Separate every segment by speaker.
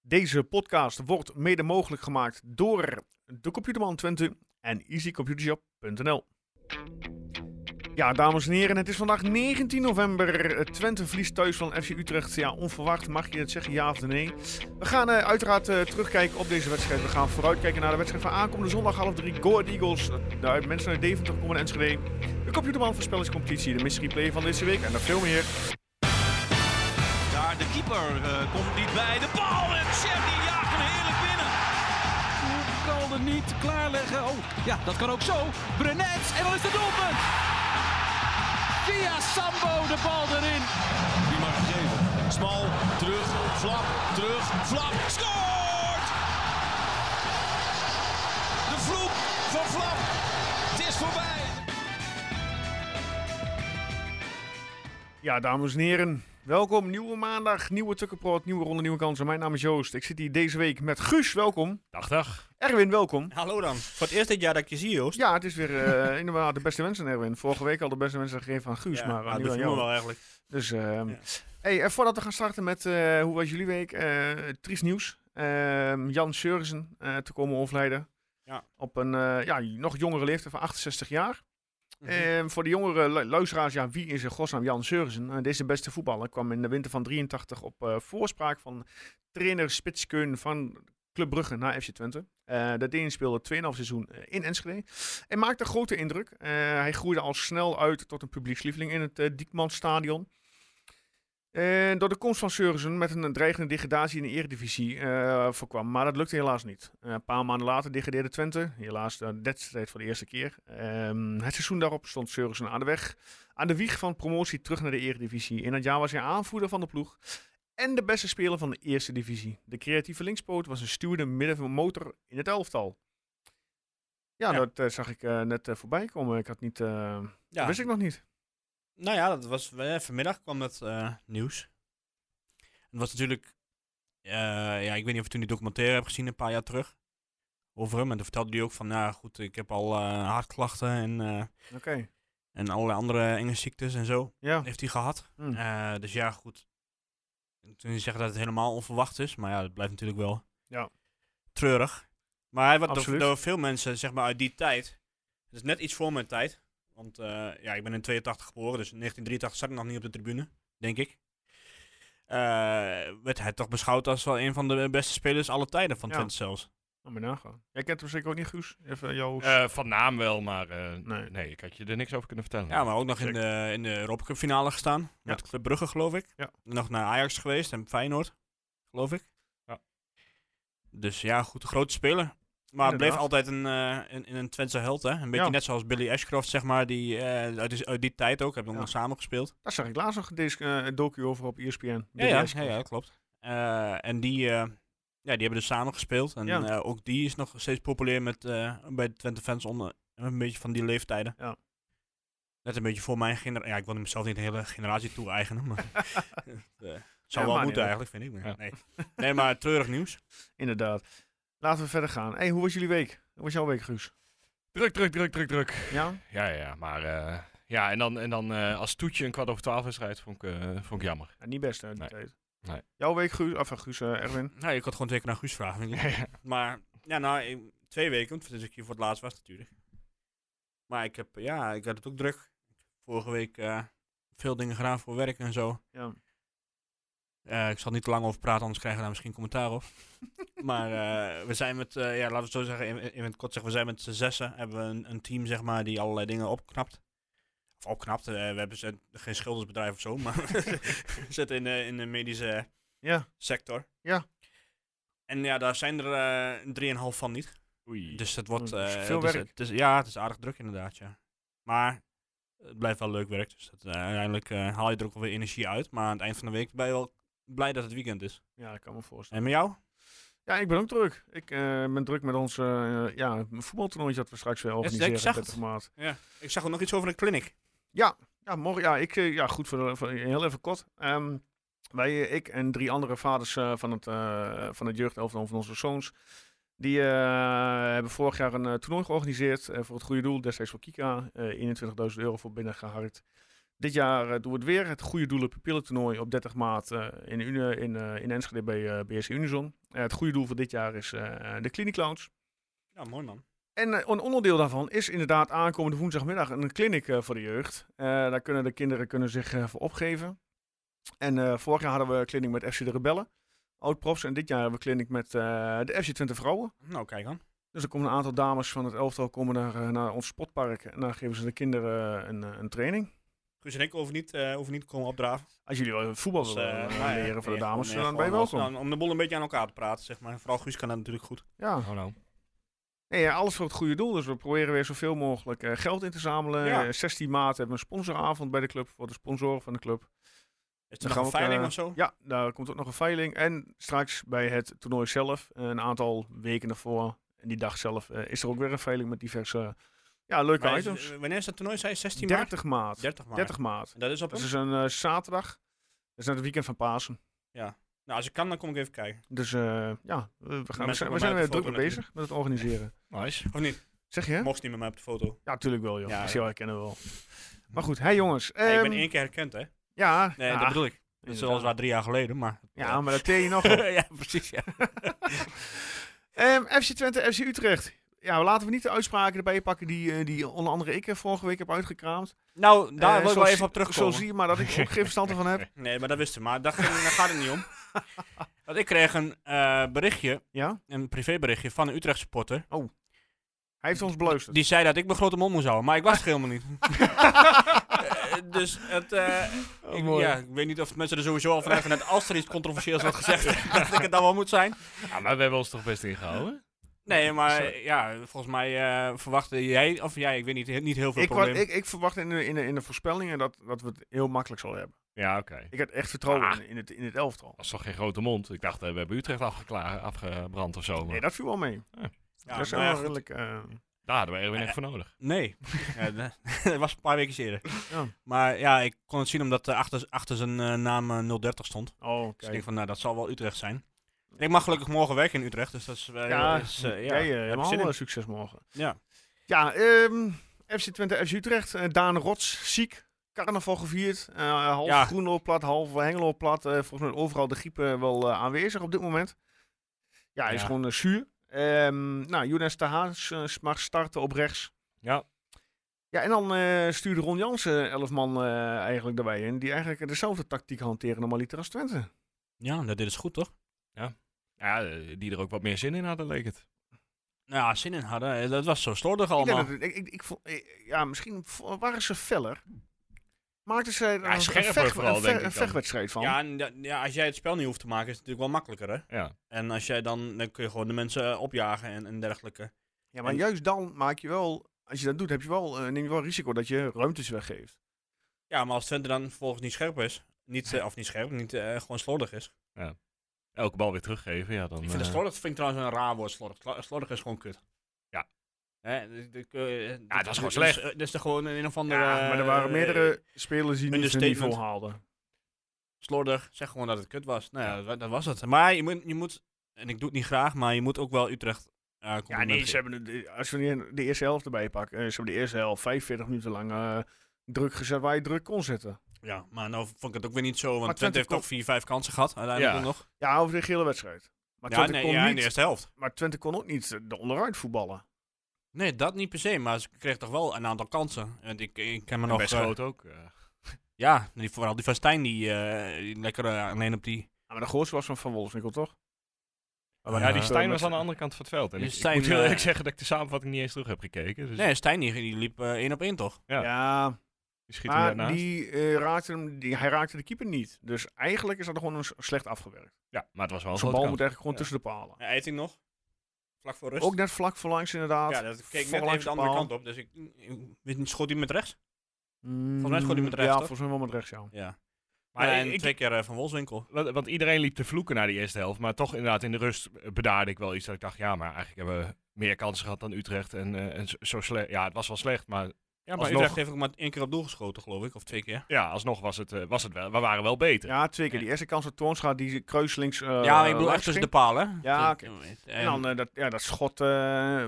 Speaker 1: Deze podcast wordt mede mogelijk gemaakt door de Computerman Twente en easycomputershop.nl. Ja, dames en heren, het is vandaag 19 november. Twente verliest thuis van FC Utrecht. Ja, onverwacht. Mag je het zeggen, ja of nee? We gaan eh, uiteraard eh, terugkijken op deze wedstrijd. We gaan vooruitkijken naar de wedstrijd van aankomende zondag half drie. Go Ahead Eagles. De uit- mensen uit Deventer komen naar Enschede. De Computerman voorspellingscompetitie. De mystery play van deze week. En nog veel meer.
Speaker 2: Daar de keeper eh, komt niet bij. De bal en Chef die jaagt hem heerlijk binnen. Kan er niet klaarleggen. Oh, ja, dat kan ook zo. Brenet en dan is het doelpunt. Via Sambo de bal erin. Die mag geven. Smal, terug, flap, terug, flap. Scoort! De vloek van flap. Het is voorbij.
Speaker 1: Ja, dames en heren. Welkom. Nieuwe maandag, nieuwe Tukkenproot, nieuwe ronde, nieuwe kansen. Mijn naam is Joost. Ik zit hier deze week met Guus. Welkom.
Speaker 3: Dag, dag.
Speaker 1: Erwin, welkom.
Speaker 3: Hallo dan. Voor het eerst dit jaar dat ik je zie, Joost.
Speaker 1: Ja, het is weer eh, inderdaad de beste wensen, Erwin. Vorige week al de beste wensen gegeven aan Guus, maar aan
Speaker 3: nou, dat
Speaker 1: nu aan
Speaker 3: doen we
Speaker 1: jou.
Speaker 3: wel eigenlijk.
Speaker 1: Dus, ehm, hey, eh, voordat we gaan starten met eh, hoe was jullie week? eh triest nieuws. Ehm, Jan Seurissen eh, te komen overlijden.
Speaker 3: Ja.
Speaker 1: Op een eh, ja, nog jongere leeftijd van 68 jaar. Ehm, voor de jongere lu- luisteraars, ja, wie is in godsnaam Jan Seurissen? Eh, deze beste voetballer kwam in de winter van 83 op eh, voorspraak van trainer Spitskeun van Club Brugge naar FC Twente. Eh de Deen speelde 2,5 seizoen eh, in Enschede en maakte grote indruk. Eh, hij groeide al snel uit tot een publiekslieveling in het eh, Diekmanstadion. En door de komst van Seurissen met een dreigende degradatie in de eredivisie eh, voorkwam. Maar dat lukte helaas niet. Eh, een paar maanden later degradeerde Twente. Helaas eh, de wedstrijd voor de eerste keer. Ehm, het seizoen daarop stond Seurissen aan de weg. Aan de wieg van promotie terug naar de eredivisie. In dat jaar was hij aanvoerder van de ploeg. En de beste speler van de eerste divisie. De creatieve linkspoot was een stuurde middenmotor in het elftal. Ja,
Speaker 3: Ja.
Speaker 1: dat eh, zag ik eh, net eh, voorbij komen. Ik had niet, eh,
Speaker 3: Ja.
Speaker 1: wist ik nog niet.
Speaker 3: Nou ja, dat was, eh, vanmiddag kwam dat eh, nieuws. Het was natuurlijk... eh, ja, ik weet niet of je toen die documentaire hebt gezien een paar jaar terug. Over hem. En toen vertelde hij ook van, nou goed, ik heb al eh, hartklachten en, eh,
Speaker 1: Oké,
Speaker 3: en allerlei andere enge ziektes en zo.
Speaker 1: ja.
Speaker 3: Heeft hij gehad.
Speaker 1: Hm.
Speaker 3: Eh, dus ja, goed. Toen zeggen dat het helemaal onverwacht is, maar ja, dat blijft natuurlijk wel
Speaker 1: Ja.
Speaker 3: treurig. Maar hij wordt door,
Speaker 1: Absoluut.
Speaker 3: door veel mensen, zeg maar uit die tijd, het is net iets voor mijn tijd, want eh, ja, ik ben in 82 geboren, dus in 1983 zat ik nog niet op de tribune, denk ik. Eh, werd hij toch beschouwd als wel een van de beste spelers alle tijden van
Speaker 1: Ja.
Speaker 3: Twente zelfs.
Speaker 1: Nou, maar nagaan. Jij kent hem zeker ook niet, Guus? Even jouw...
Speaker 4: Eh, van naam wel, maar eh,
Speaker 1: Nee.
Speaker 4: nee. ik had je er niks over kunnen vertellen.
Speaker 3: Ja, maar ook nog in de, in de Europa Cup finale gestaan. Met Club Brugge, geloof ik.
Speaker 1: Ja.
Speaker 3: Nog naar Ajax geweest en Feyenoord, geloof ik.
Speaker 4: Ja.
Speaker 3: Dus ja, goed, een grote speler. Maar het bleef
Speaker 1: Inderdaad.
Speaker 3: altijd een, eh een, een Twentse held, hè. Een beetje
Speaker 1: Ja.
Speaker 3: net zoals Billy Ashcroft, zeg maar, die eh, uit, die- uit die tijd ook. Hebben we
Speaker 1: Ja.
Speaker 3: nog samen gespeeld.
Speaker 1: Daar zag ik laatst nog deze eh, docu over op ESPN.
Speaker 3: Ja, ja, ja, ja, klopt. Eh, en die, eh, ja, die hebben dus samen gespeeld. En
Speaker 1: Ja.
Speaker 3: eh, ook die is nog steeds populair met, eh, bij de Twente fans onder een beetje van die leeftijden.
Speaker 1: Ja.
Speaker 3: Net een beetje voor mijn generatie. Ja, ik wil hem zelf niet de hele generatie toe-eigenen, maar eh, zou
Speaker 1: maar
Speaker 3: wel
Speaker 1: niet
Speaker 3: moeten
Speaker 1: uit.
Speaker 3: eigenlijk, vind ik. maar
Speaker 4: Ja.
Speaker 3: Nee. nee, maar treurig nieuws.
Speaker 1: Inderdaad. Laten we verder gaan. hey, hoe was jullie week? Hoe was jouw week, Guus?
Speaker 4: Druk, druk, druk, druk, druk.
Speaker 1: Ja?
Speaker 4: Ja, ja, ja, maar eh, ja, en dan, en dan eh, als toetje een kwart over twaalf wedstrijd vond ik, eh, vond ik jammer.
Speaker 1: Ja, niet best, hè, die
Speaker 4: Nee.
Speaker 1: tijd.
Speaker 4: Nee.
Speaker 1: Jouw week, Guus? Of eh, Guus, eh, Erwin?
Speaker 3: Nou, ik had gewoon twee keer naar Guus vragen. vind ik. maar, ja, nou, in twee weken, want sinds ik hier voor het laatst was natuurlijk. Maar ik heb, ja, ik had het ook druk. Vorige week eh, veel dingen gedaan voor werk en zo.
Speaker 1: Ja.
Speaker 3: Eh, ik zal er niet te lang over praten, anders krijgen we daar misschien commentaar op. maar eh, we zijn met, eh, ja, laten we het zo zeggen, in, in het kort zeggen, we zijn met z'n zessen. Hebben we een, een team, zeg maar, die allerlei dingen opknapt. Of opknapt, eh, we hebben ze- geen schildersbedrijf of zo, maar we zitten in, de- in de medische
Speaker 1: Ja.
Speaker 3: sector.
Speaker 1: Ja.
Speaker 3: En ja, daar zijn er eh, drieënhalf van niet.
Speaker 4: Oei.
Speaker 3: Dus dat wordt...
Speaker 1: Oh, dat is
Speaker 3: eh,
Speaker 1: veel
Speaker 3: het is-
Speaker 1: werk.
Speaker 3: het is- ja, het is aardig druk inderdaad, ja. Maar het blijft wel leuk werk. Dus dat, eh, uiteindelijk eh, haal je er ook wel weer energie uit. Maar aan het eind van de week ben je wel blij dat het weekend is.
Speaker 1: Ja, dat kan me voorstellen.
Speaker 3: En met jou?
Speaker 1: Ja, ik ben ook druk. Ik eh, ben druk met ons eh ja, voetbaltoernooitje dat we straks weer
Speaker 3: ik
Speaker 1: organiseren.
Speaker 3: zag
Speaker 1: 30 maart.
Speaker 3: Ik zag ook nog iets over een clinic.
Speaker 1: Ja, morgen, ja, ik, eh, ja goed, voor, de, voor heel even kort. Ehm, wij, eh, ik en drie andere vaders eh, van het, eh van het jeugdelftal van onze zoons, die eh, hebben vorig jaar een eh, toernooi georganiseerd eh, voor het goede doel, destijds voor Kika. eh 21.000 euro voor binnengeharkt. Dit jaar eh, doen we het weer. Het goede doelen pupillentoernooi op 30 maart eh, in, Une, in, eh, in Enschede bij eh, BSC Unison. Eh, het goede doel voor dit jaar is eh, de Clinic Lounge.
Speaker 3: Ja, mooi man.
Speaker 1: En eh, een onderdeel daarvan is inderdaad aankomende woensdagmiddag een clinic eh, voor de jeugd. Eh, daar kunnen de kinderen kunnen zich eh, voor opgeven. En eh, vorig jaar hadden we een clinic met FC de Rebellen, oud-profs. En dit jaar hebben we een clinic met eh, de FC Twente Vrouwen.
Speaker 3: Nou, kijk dan.
Speaker 1: Dus er komen een aantal dames van het elftal komen naar, eh, naar ons sportpark. En daar geven ze de kinderen eh, een, eh, een training.
Speaker 3: Guus en ik hoeven niet, eh, hoeven niet te komen opdraven.
Speaker 1: Als jullie wel voetbal
Speaker 3: Dus,
Speaker 1: willen
Speaker 3: eh,
Speaker 1: eh,
Speaker 3: nou ja,
Speaker 1: leren voor de
Speaker 3: nee,
Speaker 1: dames,
Speaker 3: gewoon,
Speaker 1: dan
Speaker 3: eh,
Speaker 1: ben je
Speaker 3: gewoon als-
Speaker 1: welkom.
Speaker 3: dan- om de boel een beetje aan elkaar te praten, zeg maar. Vooral Guus kan dat natuurlijk goed.
Speaker 1: Ja.
Speaker 4: Oh, nou.
Speaker 1: Nee, ja, alles voor het goede doel. Dus we proberen weer zoveel mogelijk eh, geld in te zamelen.
Speaker 3: Ja.
Speaker 1: Eh, 16 maart hebben we een sponsoravond bij de club voor de sponsoren van de club.
Speaker 3: Is
Speaker 1: Dan
Speaker 3: het
Speaker 1: gaan
Speaker 3: nog
Speaker 1: we
Speaker 3: een
Speaker 1: ook,
Speaker 3: veiling
Speaker 1: eh,
Speaker 3: of zo?
Speaker 1: Ja, daar komt ook nog een veiling. En straks bij het toernooi zelf, eh, een aantal weken ervoor, en die dag zelf, eh, is er ook weer een veiling met diverse eh, ja, leuke
Speaker 3: Maar is-
Speaker 1: items.
Speaker 3: wanneer is dat toernooi? Zei je 16 maart?
Speaker 1: 30 maart.
Speaker 3: 30 maart.
Speaker 1: 30 maart.
Speaker 3: En dat is op
Speaker 1: Dat
Speaker 3: een...
Speaker 1: is een eh, zaterdag. Dat is net het weekend van Pasen.
Speaker 3: Nou, als ik kan, dan kom ik even kijken.
Speaker 1: Dus eh, ja, we, we gaan, we
Speaker 3: Mensen
Speaker 1: zijn,
Speaker 3: komen
Speaker 1: we zijn
Speaker 3: uit
Speaker 1: weer
Speaker 3: de
Speaker 1: druk mee
Speaker 3: foto
Speaker 1: bezig met het organiseren.
Speaker 4: Nice.
Speaker 3: Of niet?
Speaker 1: Zeg je? hè?
Speaker 3: Mocht niet met mij op de foto.
Speaker 1: Ja, tuurlijk wel, joh.
Speaker 3: Ja,
Speaker 1: Dat is
Speaker 3: ja.
Speaker 1: heel herkennen wel. Maar goed, hé jongens.
Speaker 3: Nee, ik ben
Speaker 1: ehm,
Speaker 3: één keer herkend, hè?
Speaker 1: Ja,
Speaker 3: Nee,
Speaker 1: ja,
Speaker 3: dat bedoel ik. Dat is
Speaker 1: inderdaad.
Speaker 3: al zwaar drie jaar geleden, maar...
Speaker 1: Ja, maar dat teen je nog op.
Speaker 3: ja, precies, ja.
Speaker 1: Ehm, FC Twente, FC Utrecht. Ja, laten we niet de uitspraken erbij pakken die, eh, die onder andere ik eh, vorige week heb uitgekraamd.
Speaker 3: Nou, daar
Speaker 1: Eh,
Speaker 3: wil ik wel
Speaker 1: zo
Speaker 3: even op
Speaker 1: zie-
Speaker 3: terugkomen.
Speaker 1: Zo zie je maar dat ik er ook geen verstand van heb.
Speaker 3: Nee, maar dat wisten we. Maar daar, ging, daar gaat het niet om. Want ik kreeg een eh, berichtje,
Speaker 1: Ja?
Speaker 3: een privéberichtje van een Utrecht supporter.
Speaker 1: Hij heeft ons beluisterd.
Speaker 3: Die zei dat ik mijn grote mond moest houden, maar ik was het helemaal niet. Eh, dus het, eh, ik, ja, ik weet niet of mensen er sowieso al van hebben dat als er iets controversieels wordt gezegd, dat ik het dan wel moet zijn.
Speaker 4: Ja, maar we hebben ons toch best ingehouden?
Speaker 3: Nee, maar eh, ja, volgens mij eh, verwachtte jij, of jij, ik weet niet, he- niet heel veel
Speaker 1: Ik, wa-
Speaker 3: problemen.
Speaker 1: ik, ik verwacht in de, in, de, in de voorspellingen dat, dat we het heel makkelijk zullen hebben.
Speaker 4: Ja, oké.
Speaker 1: Ik had echt vertrouwen
Speaker 4: Ah.
Speaker 1: in, in het, in het elftal.
Speaker 4: Dat is toch geen grote mond? Ik dacht, eh, we hebben Utrecht afgekla- afgebrand of zo. Maar
Speaker 1: Nee, dat viel wel mee.
Speaker 3: Ja,
Speaker 1: dat is wel
Speaker 3: maar ja, goed.
Speaker 1: redelijk... eh,
Speaker 4: Daar hadden we Erwin echt voor nodig.
Speaker 3: Nee, Ja, de- dat was een paar weken eerder.
Speaker 1: Ja.
Speaker 3: Maar ja, ik kon het zien omdat er achter, achter zijn eh, naam eh, 030 stond.
Speaker 1: oh,
Speaker 3: Dus ik denk
Speaker 1: kijk.
Speaker 3: van, nou, dat zal wel Utrecht zijn. En ik mag gelukkig morgen werken in Utrecht, dus dat is... eh,
Speaker 1: Ja,
Speaker 3: is, eh, ja,
Speaker 1: jij eh,
Speaker 3: heb ik
Speaker 1: helemaal
Speaker 3: zin in.
Speaker 1: eh, succes morgen.
Speaker 3: Ja.
Speaker 1: Ja, ehm, FC Twente, FC Utrecht. eh, Daan Rots, ziek. Carnaval gevierd. eh, half
Speaker 3: Ja.
Speaker 1: Groenlo plat, half Hengelo plat. eh, volgens mij overal de griepen wel eh, aanwezig op dit moment. Ja, hij is
Speaker 4: Ja.
Speaker 1: gewoon eh, zuur. Ehm nou, Younes Tahaas eh, mag starten op rechts.
Speaker 4: Ja.
Speaker 1: Ja, en dan eh, stuurde Ron Jansen elf man eh, eigenlijk erbij in. Die eigenlijk dezelfde tactiek hanteren normaal liter als Twente.
Speaker 3: Ja, dat dit is goed, toch?
Speaker 4: Ja, eh, die er ook wat meer zin in hadden, leek het.
Speaker 3: Nou, ja, zin in hadden. Eh, Dat was zo slordig
Speaker 1: Ik, denk
Speaker 3: allemaal.
Speaker 1: dat, het- ik, ik, ik vond, eh, ja, misschien vo- waren ze feller. Maakten ze er een-
Speaker 4: scherper
Speaker 1: een, vecht,
Speaker 4: vooral,
Speaker 1: een,
Speaker 4: denk ik
Speaker 1: een
Speaker 4: dan.
Speaker 1: vechtwedstrijd van.
Speaker 3: Ja, en da- ja, als jij het spel niet hoeft te maken, is het natuurlijk wel makkelijker, hè?
Speaker 4: Ja.
Speaker 3: En als jij dan, dan kun je gewoon de mensen eh, opjagen en, en dergelijke.
Speaker 1: Ja, maar
Speaker 3: En-
Speaker 1: juist dan maak je wel, als je dat doet, heb je wel, eh, neem je wel risico dat je ruimtes weggeeft.
Speaker 3: Ja, maar als Twente dan vervolgens niet scherp is, niet, eh, of niet scherp, niet, eh, gewoon slordig is.
Speaker 4: Elke bal weer teruggeven, ja dan...
Speaker 3: Ik vind het
Speaker 4: eh,
Speaker 3: slordig vind ik trouwens een raar woord, slordig. Sla- Slordig is gewoon kut.
Speaker 4: Ja.
Speaker 3: Hè, dit- dit- eh, dit-
Speaker 4: dat is gewoon
Speaker 3: dit
Speaker 4: slecht.
Speaker 3: eh, Dit is er gewoon een of andere...
Speaker 1: ja, maar er waren
Speaker 3: eh,
Speaker 1: meerdere spelers die niet hun
Speaker 3: understatement.
Speaker 1: niveau haalden.
Speaker 3: slordig. Zeg gewoon dat het kut was. Nou ja, dat, dat was het. Maar je moet, je moet, en ik doe het niet graag, maar je moet ook wel Utrecht eh
Speaker 1: Ja,
Speaker 3: complimenten
Speaker 1: nee, ze
Speaker 3: geven.
Speaker 1: hebben, de- als we die- de eerste helft erbij pakken, eh, ze hebben de eerste helft 45 minuten lang eh, druk gezet waar je druk kon zetten.
Speaker 3: Ja, maar nou vond ik het ook weer niet zo, want
Speaker 1: Maar
Speaker 3: Twente,
Speaker 1: Twente
Speaker 3: heeft
Speaker 1: kon-
Speaker 3: toch vier, vijf kansen gehad uiteindelijk
Speaker 4: Ja.
Speaker 3: nog.
Speaker 1: Ja, over de gele wedstrijd. Maar
Speaker 3: ja,
Speaker 1: Twente,
Speaker 3: nee,
Speaker 1: kon
Speaker 3: ja, in de
Speaker 1: niet,
Speaker 3: eerste helft.
Speaker 1: maar Twente kon ook niet eh, onderuit voetballen.
Speaker 3: Nee, dat niet per se, maar ze kreeg toch wel een aantal kansen. Want ik, ik ken me
Speaker 4: en
Speaker 3: nog...
Speaker 4: best
Speaker 3: eh,
Speaker 4: groot ook. eh.
Speaker 3: ja, die, vooral die van Stijn, die, eh, die lekker eh, alleen op die...
Speaker 1: Ja, maar de grootste was van Van Wolfswinkel, toch?
Speaker 4: ja, die
Speaker 1: eh,
Speaker 4: Stijn was
Speaker 1: met-
Speaker 4: aan de andere kant van het veld. En
Speaker 3: Die
Speaker 4: ik, ik
Speaker 3: Stijn,
Speaker 4: moet heel
Speaker 3: eh,
Speaker 4: eerlijk zeggen dat ik de samenvatting niet eens terug heb gekeken. Dus
Speaker 3: Nee, Stijn die, die liep eh, één op één toch?
Speaker 4: Ja.
Speaker 1: Ja,
Speaker 4: die schiet hem
Speaker 1: maar
Speaker 4: daarnaast.
Speaker 1: die, eh, raakte hem, die, hij raakte de keeper niet. Dus eigenlijk is dat gewoon een s- slecht afgewerkt.
Speaker 4: Ja, maar het was wel een
Speaker 1: Zo'n
Speaker 4: grote
Speaker 1: bal
Speaker 4: kans.
Speaker 1: moet eigenlijk gewoon
Speaker 4: Ja.
Speaker 1: tussen de palen.
Speaker 3: Ja, Eiting nog. Vlak voor rust.
Speaker 1: Ook net vlak voor langs inderdaad.
Speaker 3: ja, dat keek net
Speaker 1: voorlangs
Speaker 3: even de andere
Speaker 1: paal.
Speaker 3: kant op. Dus ik, ik weet niet, schoot hij met rechts?
Speaker 1: volgens
Speaker 3: mij schoot hij met rechts,
Speaker 1: Mm, Ja,
Speaker 3: toch?
Speaker 1: volgens mij wel met rechts, ja.
Speaker 3: Ja.
Speaker 4: Maar
Speaker 3: Maar
Speaker 4: ik-
Speaker 3: en
Speaker 4: ik-
Speaker 3: twee keer eh, van Wolfswinkel.
Speaker 4: Want, want iedereen liep te vloeken na die eerste helft. Maar toch inderdaad in de rust eh, bedaarde ik wel iets dat ik dacht, ja, maar eigenlijk hebben we meer kansen gehad dan Utrecht. En, eh, en zo, zo slecht. Ja, het was wel slecht, maar... Ja, maar
Speaker 3: Alsnog
Speaker 4: Utrecht,
Speaker 3: heeft ook maar één keer op doel geschoten, geloof ik. Of twee keer.
Speaker 4: ja, alsnog was het, eh, was het wel. We waren wel beter.
Speaker 1: Ja, twee keer. Die eerste kans op Toornstra, die kruislings eh
Speaker 3: ja, maar ik bedoel
Speaker 1: langs
Speaker 3: echt tussen de
Speaker 1: ging.
Speaker 3: palen.
Speaker 1: Ja, oké.
Speaker 3: En,
Speaker 1: En dan eh, dat, ja, dat schot eh,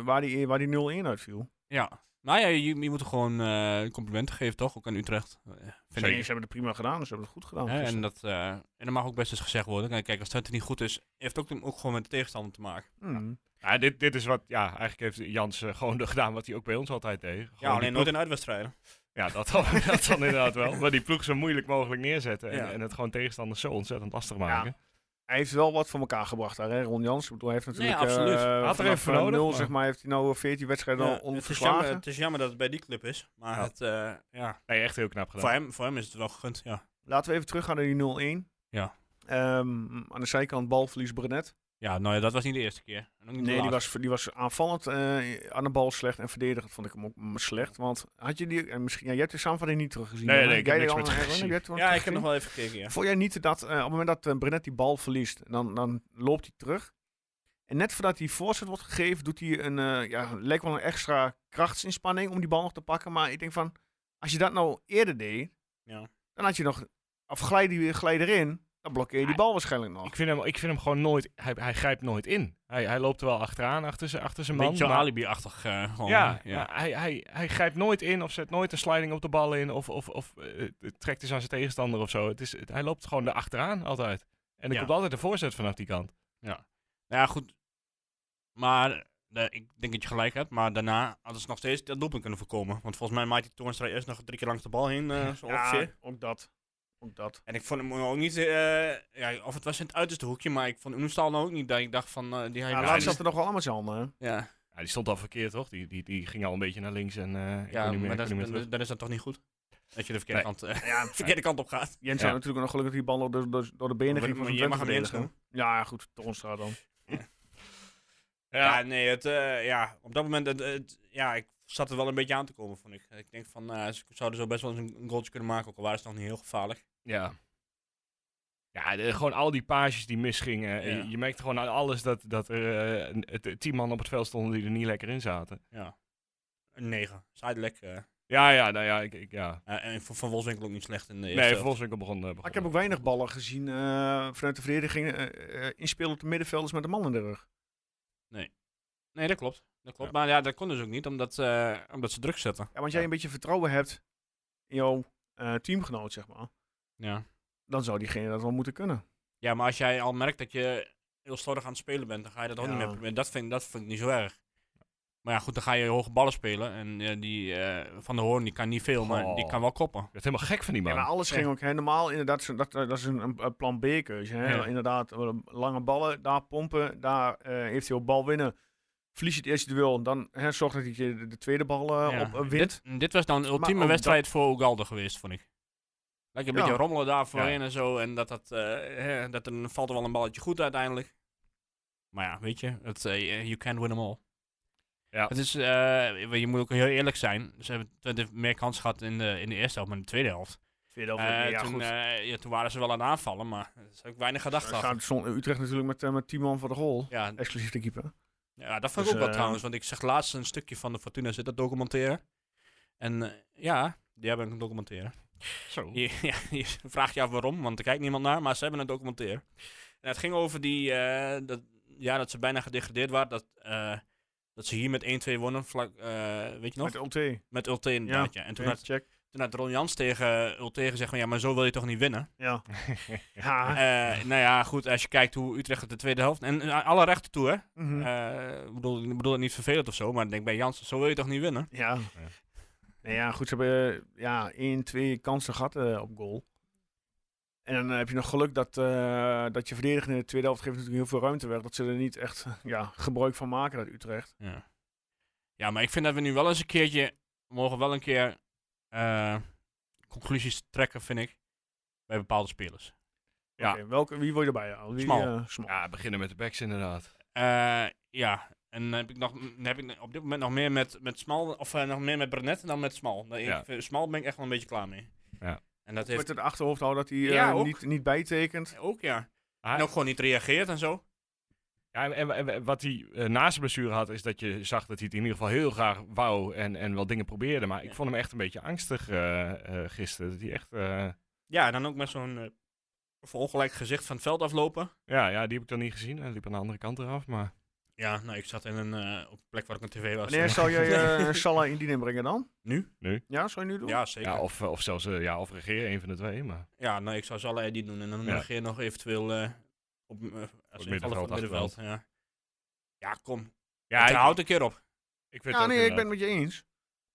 Speaker 1: waar die, waar die 0-1 uitviel.
Speaker 3: ja. Nou ja, je, je moet er gewoon eh, complimenten geven, toch? Ook aan Utrecht. Eh, Vind
Speaker 1: Ze
Speaker 3: ik.
Speaker 1: hebben het prima gedaan, dus ze hebben het goed gedaan.
Speaker 3: Hè, en,
Speaker 1: gisteren.
Speaker 3: dat, eh, en dat mag ook best eens gezegd worden. Kijk, Kijk, als het niet goed is, heeft het ook, ook gewoon met de tegenstander te maken.
Speaker 1: Mm.
Speaker 4: Ja, dit, dit is wat, ja, eigenlijk heeft Jans eh, gewoon de- gedaan wat hij ook bij ons altijd deed. Gewoon die ploeg-
Speaker 3: in uitwedstrijden.
Speaker 4: Ja, dat dan, dat dan inderdaad wel. Maar die ploeg zo moeilijk mogelijk neerzetten en,
Speaker 3: Ja.
Speaker 4: en het gewoon tegenstanders zo ontzettend lastig maken.
Speaker 1: Hij heeft wel wat voor elkaar gebracht daar, hè? Ron Jans. Ik bedoel, hij heeft
Speaker 3: Nee,
Speaker 1: natuurlijk...
Speaker 3: absoluut.
Speaker 1: eh,
Speaker 4: Had er
Speaker 1: vanaf,
Speaker 4: even voor
Speaker 1: eh,
Speaker 4: nodig,
Speaker 1: nul,
Speaker 4: maar-
Speaker 1: zeg maar, heeft hij nou eh, 14 wedstrijden al
Speaker 3: het, is
Speaker 1: onverslagen.
Speaker 3: jammer, het is jammer dat het bij die club is. Maar
Speaker 4: Ja.
Speaker 3: het, eh, ja,
Speaker 4: Nee, echt heel knap gedaan.
Speaker 3: voor, hem, voor hem is het wel gegund. Ja,
Speaker 1: Laten we even teruggaan naar die 0-1.
Speaker 3: Ja.
Speaker 1: Ehm, aan de zijkant balverlies Brenet.
Speaker 3: ja nou ja, dat was niet de eerste keer. En ook niet de
Speaker 1: Nee, die
Speaker 3: laatste.
Speaker 1: was, die was aanvallend eh, aan de bal slecht en verdedigend vond ik hem ook m- slecht. Want had je die, en misschien, ja, jij hebt de samenvatting niet teruggezien.
Speaker 4: Nee,
Speaker 1: hè?
Speaker 4: nee, ik heb
Speaker 1: Jij
Speaker 4: niks
Speaker 1: al-
Speaker 4: meer teruggezien.
Speaker 1: heb jij het wel
Speaker 3: Ja, ik heb
Speaker 1: teruggezien?
Speaker 3: nog wel even gekeken, ja.
Speaker 1: Vond jij niet dat eh, op het moment dat eh, Brenet die bal verliest, dan, dan loopt hij terug. En net voordat die voorzet wordt gegeven, doet hij een, eh ja, lijkt wel een extra krachtsinspanning om die bal nog te pakken. Maar ik denk van, als je dat nou eerder deed,
Speaker 3: Ja.
Speaker 1: dan had je nog, of glijd die glijd erin, dan blokkeer je die bal waarschijnlijk nog.
Speaker 4: Ik vind, hem, ik vind hem gewoon nooit, hij, hij grijpt nooit in. Hij, hij loopt er wel achteraan, achter zijn, achter zijn
Speaker 3: Een
Speaker 4: man.
Speaker 3: beetje
Speaker 4: maar-
Speaker 3: alibi-achtig eh, gewoon.
Speaker 4: Ja,
Speaker 3: ja.
Speaker 4: maar Hij, hij, hij grijpt nooit in of zet nooit een sliding op de bal in of, of, of eh, trekt eens aan zijn tegenstander of zo. Het is, het- hij loopt gewoon erachteraan altijd. En er
Speaker 3: Ja.
Speaker 4: komt altijd een voorzet vanaf die kant.
Speaker 3: Nou ja, goed. Maar eh, ik denk dat je gelijk hebt. Maar daarna hadden ze nog steeds dat doelpunt kunnen voorkomen. Want volgens mij maakte Toornstra eerst nog drie keer langs de bal heen. eh, zo ongeveer.
Speaker 1: ook dat. Ook dat.
Speaker 3: En ik vond hem ook niet... eh, ja, of het was in het uiterste hoekje, maar ik vond Oenestal nou ook niet dat ik dacht van... eh, die hij
Speaker 1: Ja,
Speaker 4: Ja,
Speaker 1: laatst
Speaker 4: die-
Speaker 1: zat er nog wel allemaal zijn handen. hè?
Speaker 3: ja,
Speaker 4: Ja, die stond al verkeerd, toch? Die, die, die ging al een beetje naar links en eh ik
Speaker 3: ja
Speaker 4: kon niet meer,
Speaker 3: maar
Speaker 4: ik
Speaker 3: dat,
Speaker 4: kon niet meer
Speaker 3: is-
Speaker 4: terug.
Speaker 3: dan, dan is dat toch niet goed? Dat je de verkeerde,
Speaker 4: Nee.
Speaker 3: kant, eh, de verkeerde kant op gaat.
Speaker 1: Jens
Speaker 4: Ja.
Speaker 1: had natuurlijk nog gelukkig die bal door, de- door, door de benen
Speaker 3: Maar-
Speaker 1: ging van
Speaker 3: maar
Speaker 1: zijn
Speaker 3: je mag hem
Speaker 1: Twente-verdediger.
Speaker 3: Jens
Speaker 1: Ja, ja, goed. Toornstra dan.
Speaker 3: Ja, nee, het, eh, ja, op dat moment... Het, het- ja, ik zat er wel een beetje aan te komen, vond ik. Ik denk van, eh, ze zouden zo best wel eens een, een goaltje kunnen maken. Ook al waren ze nog niet heel gevaarlijk.
Speaker 4: Ja. Ja, de- gewoon al die pages die misgingen. eh,
Speaker 3: Ja.
Speaker 4: Je, je merkte gewoon aan alles dat, dat er eh, een- het- tien man op het veld stonden die er niet lekker in zaten.
Speaker 3: Ja. Een 9. Zijdelijk. eh
Speaker 4: Ja, ja, nou ja. Ik, ik, ja.
Speaker 3: eh, en voor Van Wolfswinkel ook niet slecht in de eerste
Speaker 4: Nee,
Speaker 3: helft.
Speaker 4: volgens mij begon, eh, begon.
Speaker 1: Maar ik heb ook weinig ballen gezien eh, vanuit de verdediging. eh, eh, inspelen op de middenvelders met de man in de rug.
Speaker 3: Nee, dat klopt. Dat klopt.
Speaker 4: Ja.
Speaker 3: Maar ja, dat kon dus ook niet, omdat, eh, omdat ze druk zetten.
Speaker 1: Ja, want jij
Speaker 4: Ja.
Speaker 1: een beetje vertrouwen hebt in jouw eh, teamgenoot, zeg maar.
Speaker 3: Ja.
Speaker 1: Dan zou diegene dat wel moeten kunnen.
Speaker 3: ja, maar als jij al merkt dat je heel slordig aan het spelen bent, dan ga je dat ook niet
Speaker 1: Ja.
Speaker 3: meer proberen. Dat vind, dat vind ik niet zo erg. Maar ja, goed, dan ga je hoge ballen spelen. En eh, die eh, Van de Hoorn, die kan niet veel, maar die
Speaker 4: Goh.
Speaker 3: kan wel koppen.
Speaker 4: Ik werd helemaal gek van die man.
Speaker 1: Ja, maar alles ging ook hè, normaal. Inderdaad, zo- dat, dat is een, een- een plan B-keuze. hè.
Speaker 4: Ja.
Speaker 1: Inderdaad, eh, lange ballen, daar pompen, daar eh, heeft hij ook bal winnen. Verlies je het eerste duel, dan hè, zorgt dat hij de, de tweede bal eh,
Speaker 3: Ja.
Speaker 1: op eh, wint.
Speaker 3: Dit, dit was dan een ultieme
Speaker 1: ook
Speaker 3: wedstrijd voor Ugalde geweest, vond ik. Lekker een
Speaker 1: Ja.
Speaker 3: beetje rommelen daar voorin en zo. En dat, dat, eh, hè, dat er valt er wel een balletje goed uiteindelijk. Maar ja, weet je, het, eh, you can't win them all.
Speaker 4: Ja.
Speaker 3: Het is, eh, je moet ook heel eerlijk zijn. Ze hebben Twente meer kans gehad in de, in de eerste helft, maar in de tweede helft.
Speaker 1: Tweede helft,
Speaker 3: Eh,
Speaker 1: ja,
Speaker 3: toen,
Speaker 1: goed.
Speaker 3: eh, ja, toen waren ze wel aan het aanvallen, maar er is ook weinig gedacht
Speaker 1: Dan
Speaker 3: achter.
Speaker 1: gaat stond Utrecht natuurlijk met, eh, met 10 man voor de goal.
Speaker 3: Ja,
Speaker 1: Exclusief de keeper.
Speaker 3: Ja, dat vond
Speaker 1: Dus,
Speaker 3: ik ook wel
Speaker 1: eh,
Speaker 3: trouwens, want ik zag laatst een stukje van de Fortuna zit dat documenteren. En eh, ja, die hebben een documentaire.
Speaker 4: Zo.
Speaker 3: Je, ja, je vraagt je af waarom, want er kijkt niemand naar, maar ze hebben een documentaire. En het ging over die, eh, dat, ja, dat ze bijna gedegradeerd waren, dat, eh, dat ze hier met 1-2 wonnen, vlak, eh, weet je nog?
Speaker 1: Met LT.
Speaker 3: Met Ulte inderdaad, ja. En toen had,
Speaker 1: check.
Speaker 3: toen had Ron Jans tegen Ulte gezegd van, ja, maar zo wil je toch niet winnen?
Speaker 1: Ja. ja.
Speaker 3: Eh,
Speaker 4: Ah.
Speaker 3: nou ja, goed, als je kijkt hoe Utrecht het de tweede helft, en eh, alle rechten toe hè,
Speaker 4: Hm.
Speaker 1: Mhm.
Speaker 3: Eh, ik bedoel, ik bedoel het niet vervelend of zo, maar ik denk bij Jansen, zo wil je toch niet winnen?
Speaker 1: ja. Nee, ja, goed, ze hebben eh, ja, één, twee kansen gehad eh, op goal. En dan eh, heb je nog geluk dat, eh, dat je verdediger in de tweede helft geeft natuurlijk heel veel ruimte weg. Dat ze er niet echt ja, gebruik van maken, dat Utrecht.
Speaker 3: Ja. ja, maar ik vind dat we nu wel eens een keertje, we mogen wel een keer eh, conclusies trekken, vind ik, bij bepaalde spelers.
Speaker 4: Ja.
Speaker 1: Oké, welke, wie wil je erbij halen? Wie,
Speaker 3: Smal.
Speaker 1: eh, Smal.
Speaker 4: Ja, beginnen met de backs inderdaad.
Speaker 3: Eh, ja, en dan heb ik, nog, dan heb ik op dit moment nog meer met, met Smal, of eh, nog meer met Brenet dan met Smal. Dan- ik
Speaker 4: Ja.
Speaker 3: vind- Smal ben ik echt wel een beetje klaar mee.
Speaker 4: Ja.
Speaker 3: En dat
Speaker 1: Met
Speaker 3: heeft
Speaker 1: het achterhoofd houden dat hij eh,
Speaker 3: Ja, ook.
Speaker 1: niet, niet bijtekent.
Speaker 3: ook, ja.
Speaker 4: Ah,
Speaker 3: En ook gewoon niet reageert en zo.
Speaker 4: Ja, en, en- en wat hij eh, na zijn blessure had, is dat je zag dat hij het in ieder geval heel graag wou en, en wel dingen probeerde. Maar ik
Speaker 3: Ja.
Speaker 4: vond hem echt een beetje angstig eh, eh, gisteren. Dat hij echt, eh,
Speaker 3: Ja, en dan ook met zo'n eh verongelijkt gezicht van het veld aflopen.
Speaker 4: ja, ja, die heb ik dan niet gezien. Hij liep aan de andere kant eraf, maar...
Speaker 3: Ja, nou, ik zat in een, eh, op een plek waar ik een tv was.
Speaker 1: Wanneer zal je eh Salah in dienst brengen dan?
Speaker 3: Nu?
Speaker 1: Ja, zou je nu doen?
Speaker 3: Ja, zeker.
Speaker 4: Ja, of, eh, of zelfs eh, ja, of regeren, een van de twee. Maar
Speaker 3: Ja, nou, ik zou ze allebei die doen. En dan
Speaker 4: Ja.
Speaker 3: regeer nog eventueel eh, op, eh, als invaller van
Speaker 4: middenveld,
Speaker 3: het middenveld. Ja. ja, kom.
Speaker 4: ja,
Speaker 3: Ja, houd een keer op.
Speaker 4: ik vind
Speaker 1: Ja,
Speaker 4: het ook eh,
Speaker 1: nee, ik ben het
Speaker 4: inderdaad.
Speaker 1: met je eens. Ik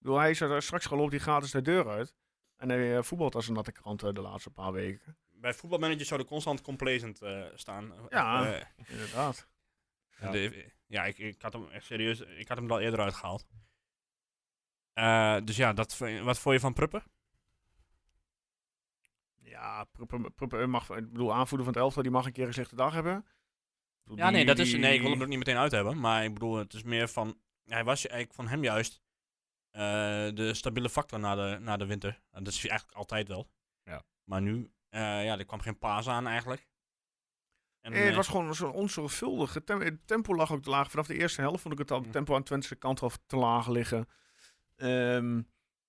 Speaker 1: bedoel, hij is er eh, straks geloopt die gratis de deur uit. En hij eh, voetbalt als een natte krant eh, de laatste paar weken.
Speaker 3: Bij voetbalmanagers zou er constant complacent eh, staan.
Speaker 1: Ja.
Speaker 3: Eh,
Speaker 1: Inderdaad.
Speaker 3: Ja, de- ja ik, ik had hem echt serieus, ik had hem er al eerder uitgehaald. Eh, dus ja, dat, v- wat vond je van Pruppen?
Speaker 1: Ja, Pruppen- Pruppen mag, ik bedoel, aanvoerder van het elftal, die mag een keer een slechte dag hebben. Ik bedoel,
Speaker 3: Ja, nee,
Speaker 1: die-
Speaker 3: dat is, nee, ik wil hem
Speaker 1: die-
Speaker 3: er ook niet meteen uit hebben. Maar ik bedoel, het is meer van, hij was, ju- ik vond hem juist eh, de stabiele factor na de, na de winter. En dat is hij eigenlijk altijd wel.
Speaker 4: Ja.
Speaker 3: Maar nu, eh, ja, er kwam geen paas aan eigenlijk. En,
Speaker 1: Eh, het
Speaker 3: eh,
Speaker 1: was gewoon zo onzorgvuldig. Het, tem- het tempo lag ook te laag. Vanaf de eerste helft vond ik het al-
Speaker 3: Ja.
Speaker 1: tempo aan Twentse kant al te laag liggen. Ehm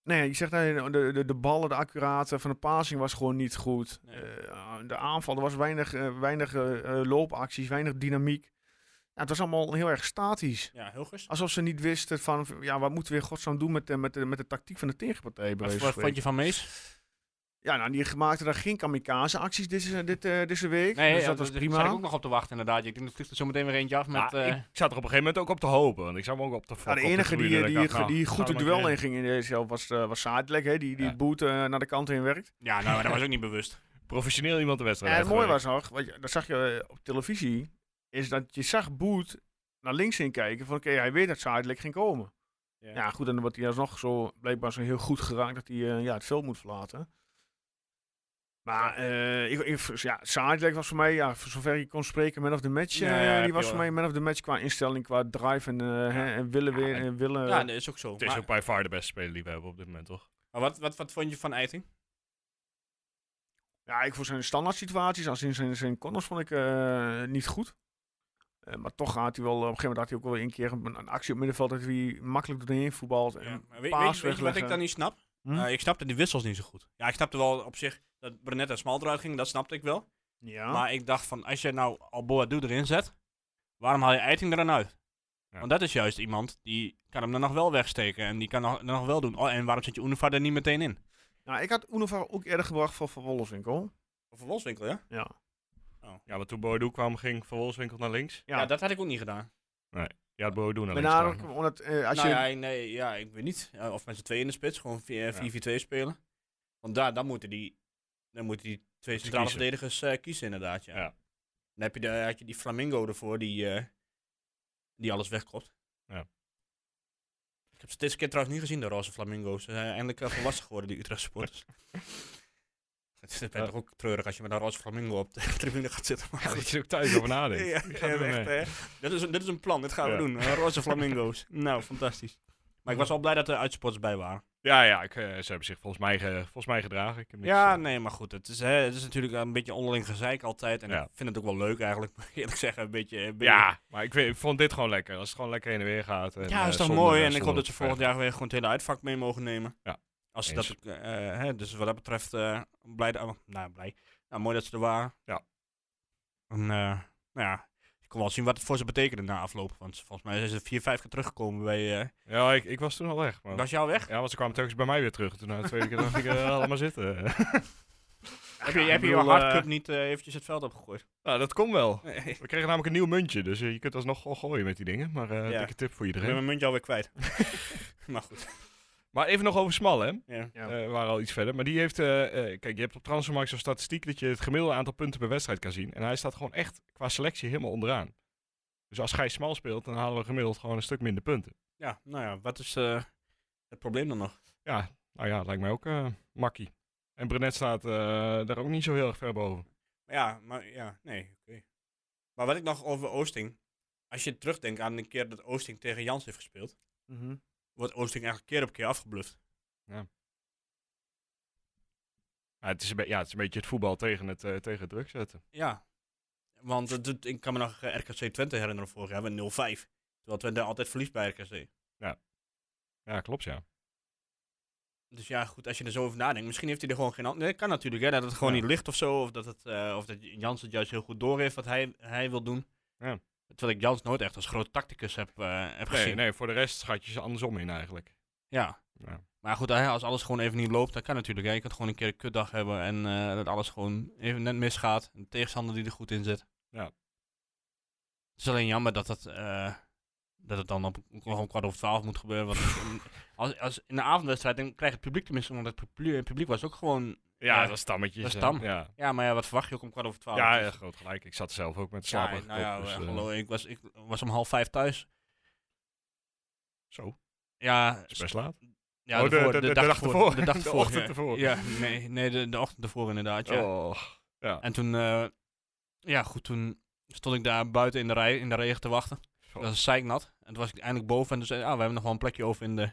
Speaker 1: nee, je zegt nee, de, de, de ballen, de accurate van de passing was gewoon niet goed.
Speaker 3: Nee.
Speaker 1: Eh, de aanval, er was weinig, eh, weinig eh, eh, loopacties, weinig dynamiek. Ja, het was allemaal heel erg statisch.
Speaker 3: ja, Hilgers.
Speaker 1: Alsof ze niet wisten van, ja, wat moeten we in godsnaam doen met de, met de, met de tactiek van de tegenpartij. bij
Speaker 3: Wat,
Speaker 1: wijze
Speaker 3: wat
Speaker 1: van
Speaker 3: vond je
Speaker 1: spreken.
Speaker 3: van Mees?
Speaker 1: Ja, nou, die maakte daar geen kamikaze acties deze, dit, eh, deze week. dus
Speaker 3: ja,
Speaker 1: dat was
Speaker 3: daar zat ik
Speaker 1: prima.
Speaker 3: ook nog op te wachten inderdaad. Ik denk, dat vliegt er zo meteen weer eentje af
Speaker 4: Ja,
Speaker 3: met... eh,
Speaker 4: ik zat er op een gegeven moment ook op te hopen. Want ik zag hem ook op de
Speaker 1: Ja, de
Speaker 4: op
Speaker 1: enige die,
Speaker 4: tribune,
Speaker 1: die,
Speaker 4: dat ik
Speaker 1: die,
Speaker 4: dacht, nou,
Speaker 1: die
Speaker 4: ga
Speaker 1: goed
Speaker 4: er
Speaker 1: het
Speaker 4: maar
Speaker 1: duel
Speaker 4: in.
Speaker 1: in ging in deze helft was, eh, was Zadelijk, hè, die, die
Speaker 4: Ja.
Speaker 1: het boot eh, naar de kant heen werkt.
Speaker 3: Ja, nou, maar dat was ook niet bewust.
Speaker 4: Professioneel iemand de wedstrijd.
Speaker 1: en het mooie
Speaker 4: uitgewerkt.
Speaker 1: was nog, wat je, dat zag je eh, op televisie, is dat je zag Boet naar links in kijken van oké, hij weet dat Zadelijk ging komen. Ja. goed, en dan wordt hij alsnog zo, blijkbaar zo heel goed geraakt dat hij eh, ja, het veld moet verlaten. Maar eh ik, ik- ja, Zadelijk was voor mij, ja, voor zover je kon spreken, man of the match.
Speaker 3: Ja,
Speaker 1: eh,
Speaker 3: ja, heb
Speaker 1: die
Speaker 3: je
Speaker 1: was voor
Speaker 3: wel.
Speaker 1: mij man of the match qua instelling, qua drive en, eh, hè, en willen weer.
Speaker 4: en-
Speaker 1: en willen,
Speaker 3: Ja, dat is ook zo.
Speaker 4: Het is
Speaker 3: Maar-
Speaker 4: ook bij far de beste speler die we hebben op dit moment, toch?
Speaker 3: Maar wat, wat, wat vond je van Eiting?
Speaker 1: Ja, ik vond zijn standaard situaties, als in zijn, zijn corners, vond ik eh, niet goed. Eh, maar toch gaat hij wel, op een gegeven moment had hij ook wel een keer een, een actie op middenveld dat hij makkelijk doorheen voetbalt.
Speaker 3: Ja,
Speaker 1: En,
Speaker 3: maar weet,
Speaker 1: paas
Speaker 3: weet, je- weet je wat ik
Speaker 1: wegleggen.
Speaker 3: dan niet snap?
Speaker 1: Hm?
Speaker 3: Eh, ik snapte die wissels niet zo goed. Ja, ik snapte wel op zich dat Brenet en Smal eruit ging, dat snapte ik wel.
Speaker 1: ja.
Speaker 3: Maar ik dacht van, als je nou Alboa Doe erin zet, waarom haal je Eiting er dan uit?
Speaker 4: Ja.
Speaker 3: Want dat is juist iemand die kan hem dan nog wel wegsteken en die kan nog, dan nog wel doen. Oh, en waarom zet je Unova er niet meteen in?
Speaker 1: Nou, ik had Unova ook eerder gebracht voor Van Wolleswinkel.
Speaker 3: Of Wolfswinkel, ja?
Speaker 1: Ja.
Speaker 4: Ja, maar toen Boadu kwam, ging Van Wolfswinkel naar links.
Speaker 1: Ja.
Speaker 3: ja? dat had ik ook niet gedaan.
Speaker 4: Ja, het Boadu naar
Speaker 1: Met
Speaker 4: links.
Speaker 1: name
Speaker 4: kwam.
Speaker 1: ook omdat eh, als
Speaker 3: nou
Speaker 1: je...
Speaker 3: ja, nee, ja, ik weet niet. Eh, of met z'n tweeën in de spits, gewoon 4-4-2 spelen. Want daar, dan, moeten die, dan moeten die twee centrale
Speaker 4: kiezen.
Speaker 3: verdedigers eh, kiezen inderdaad, ja.
Speaker 4: Ja.
Speaker 3: Dan heb je de, had je die Flamingo ervoor, die, eh, die alles wegkopt.
Speaker 4: Ja.
Speaker 3: Ik heb ze deze keer trouwens niet gezien, de roze Flamingo's. Ze zijn eindelijk wel volwassen geworden, die Utrecht supporters. Het is bent
Speaker 4: Ja.
Speaker 3: toch ook treurig als je met een roze Flamingo op de tribune gaat zitten. Maar
Speaker 4: Dat
Speaker 3: goed.
Speaker 4: je er ook thuis over nadenkt.
Speaker 3: Ja,
Speaker 4: Wie gaat
Speaker 3: ja,
Speaker 4: er mee?
Speaker 3: echt, hè. Dat is, een- dit is een plan, dit gaan we
Speaker 4: Ja.
Speaker 3: doen. Eh, roze flamingo's. nou, fantastisch. Maar ik was wel blij dat er uitspotters bij waren.
Speaker 4: Ja, ja, ik, eh, ze hebben zich volgens mij, ge- volgens mij gedragen. Ik heb niks,
Speaker 3: ja,
Speaker 4: eh,
Speaker 3: nee, maar goed. Het is, hè, het is natuurlijk een beetje onderling gezeik altijd. En
Speaker 4: Ja.
Speaker 3: ik vind het ook wel leuk eigenlijk, moet ik eerlijk zeggen. Een beetje, een beetje-
Speaker 4: ja, maar ik, weet- ik vond dit gewoon lekker. Als het gewoon lekker heen en weer gaat. En,
Speaker 3: ja,
Speaker 4: eh,
Speaker 3: is toch
Speaker 4: zonder-
Speaker 3: mooi. En ik
Speaker 4: zonder
Speaker 3: hoop dat ze
Speaker 4: gevecht.
Speaker 3: volgend jaar weer gewoon het hele uitvak mee mogen nemen.
Speaker 4: Ja,
Speaker 3: Als ze
Speaker 4: eens.
Speaker 3: dat, ook, eh, hè, dus wat dat betreft, eh, blij, dat- nou, blij. Nou, mooi dat ze er waren.
Speaker 4: Ja.
Speaker 3: En, eh, nou ja, ik kon wel zien wat het voor ze betekende na afloop. Want volgens mij zijn ze vier, vijf keer teruggekomen bij... eh
Speaker 4: Ja, ik, ik was toen al weg. Maar...
Speaker 3: was jou weg?
Speaker 4: Ja, want ze kwamen telkens bij mij weer terug. En Toen na de tweede keer dacht ik, eh, laat maar zitten.
Speaker 3: Heb je,
Speaker 1: Ja,
Speaker 3: heb
Speaker 1: ik
Speaker 3: je je
Speaker 1: bedoel,
Speaker 3: hardcup
Speaker 1: eh,
Speaker 3: niet eh, eventjes het veld opgegooid?
Speaker 4: nou, dat komt wel.
Speaker 3: Nee.
Speaker 4: We kregen namelijk een nieuw muntje, dus eh, je kunt alsnog gewoon gooien met die dingen. Maar eh
Speaker 3: Ja.
Speaker 4: dikke tip voor
Speaker 3: Ik ben
Speaker 4: iedereen.
Speaker 3: mijn muntje alweer kwijt. maar goed.
Speaker 4: Maar even nog over Smal, hè?
Speaker 3: Ja.
Speaker 1: Ja.
Speaker 4: Eh, we waren al iets verder. Maar die heeft. eh, eh, kijk, je hebt op Transfermarkt zo'n statistiek dat je het gemiddelde aantal punten per wedstrijd kan zien. En hij staat gewoon echt qua selectie helemaal onderaan. Dus als Gijs Smal speelt, dan halen we gemiddeld gewoon een stuk minder punten.
Speaker 3: ja, nou ja, wat is eh, het probleem dan nog?
Speaker 4: Ja, nou ja, lijkt mij ook eh, makkie. En Brenet staat eh, daar ook niet zo heel erg ver boven.
Speaker 3: Ja, maar ja, nee. oké. Maar wat ik nog over Oosting. Als je terugdenkt aan een keer dat Oosting tegen Jans heeft gespeeld,
Speaker 1: Mhm.
Speaker 3: wordt Oosting eigenlijk keer op keer afgebluft.
Speaker 4: Maar het, is een be- ja, het is een beetje het voetbal tegen het, eh, tegen het druk zetten.
Speaker 3: Ja. Want het doet- ik kan me nog eh, RKC Twente herinneren vorig jaar met 0-5. Terwijl Twente altijd verliest bij RKC.
Speaker 4: Ja, klopt ja.
Speaker 3: Dus ja, goed, als je er zo over nadenkt. Misschien heeft hij er gewoon geen hand. Nee, dat kan natuurlijk, hè. Dat het gewoon
Speaker 4: Ja.
Speaker 3: niet ligt of zo. Of dat, het, eh, of dat Jans het juist heel goed doorheeft wat hij, hij wil doen.
Speaker 4: Ja.
Speaker 3: Het terwijl ik Jans nooit echt als groot tacticus heb, eh, heb
Speaker 4: Nee,
Speaker 3: gezien.
Speaker 4: nee, voor de rest schat je ze andersom in eigenlijk.
Speaker 3: Ja.
Speaker 4: Ja.
Speaker 3: Maar goed, hè, als alles gewoon even niet loopt, dan kan natuurlijk. Hè. Je kan gewoon een keer een kutdag hebben en eh, dat alles gewoon even net misgaat. Een tegenstander die er goed in zit.
Speaker 4: Ja.
Speaker 3: Het is alleen jammer dat dat, eh, dat het dan op gewoon kwart over twaalf moet gebeuren. Want in- als, als in de avondwedstrijd dan krijgt het publiek tenminste, omdat het publiek, het publiek was ook gewoon...
Speaker 4: Ja,
Speaker 3: Ja,
Speaker 4: dat stammetjes.
Speaker 3: dat is
Speaker 4: eh,
Speaker 3: stam.
Speaker 4: Ja,
Speaker 3: Ja, maar ja, wat verwacht je ook om kwart over twaalf?
Speaker 4: ja,
Speaker 3: Dus-
Speaker 4: ja, groot gelijk. Ik zat zelf ook met
Speaker 3: Ja,
Speaker 4: slapen. Dus,
Speaker 3: nou ja,
Speaker 4: eh,
Speaker 3: hallo, ik, was, ik was om half vijf thuis.
Speaker 4: Zo, dat
Speaker 3: Ja,
Speaker 4: is best laat.
Speaker 3: ja
Speaker 4: Oh, de-
Speaker 3: ervoor-
Speaker 4: de- de dag ervoor.
Speaker 3: De dag
Speaker 4: De
Speaker 3: ervoor.
Speaker 4: ochtend
Speaker 3: ja.
Speaker 4: ervoor.
Speaker 3: Ja, nee, nee de, de ochtend ervoor inderdaad. Ja.
Speaker 4: Oh,
Speaker 3: En toen, eh, ja goed, toen stond ik daar buiten in de rij, in de regen te wachten.
Speaker 4: Zo.
Speaker 3: Dat was zeiknat. En toen was ik eindelijk boven en toen zei ah, we hebben nog wel een plekje over in de,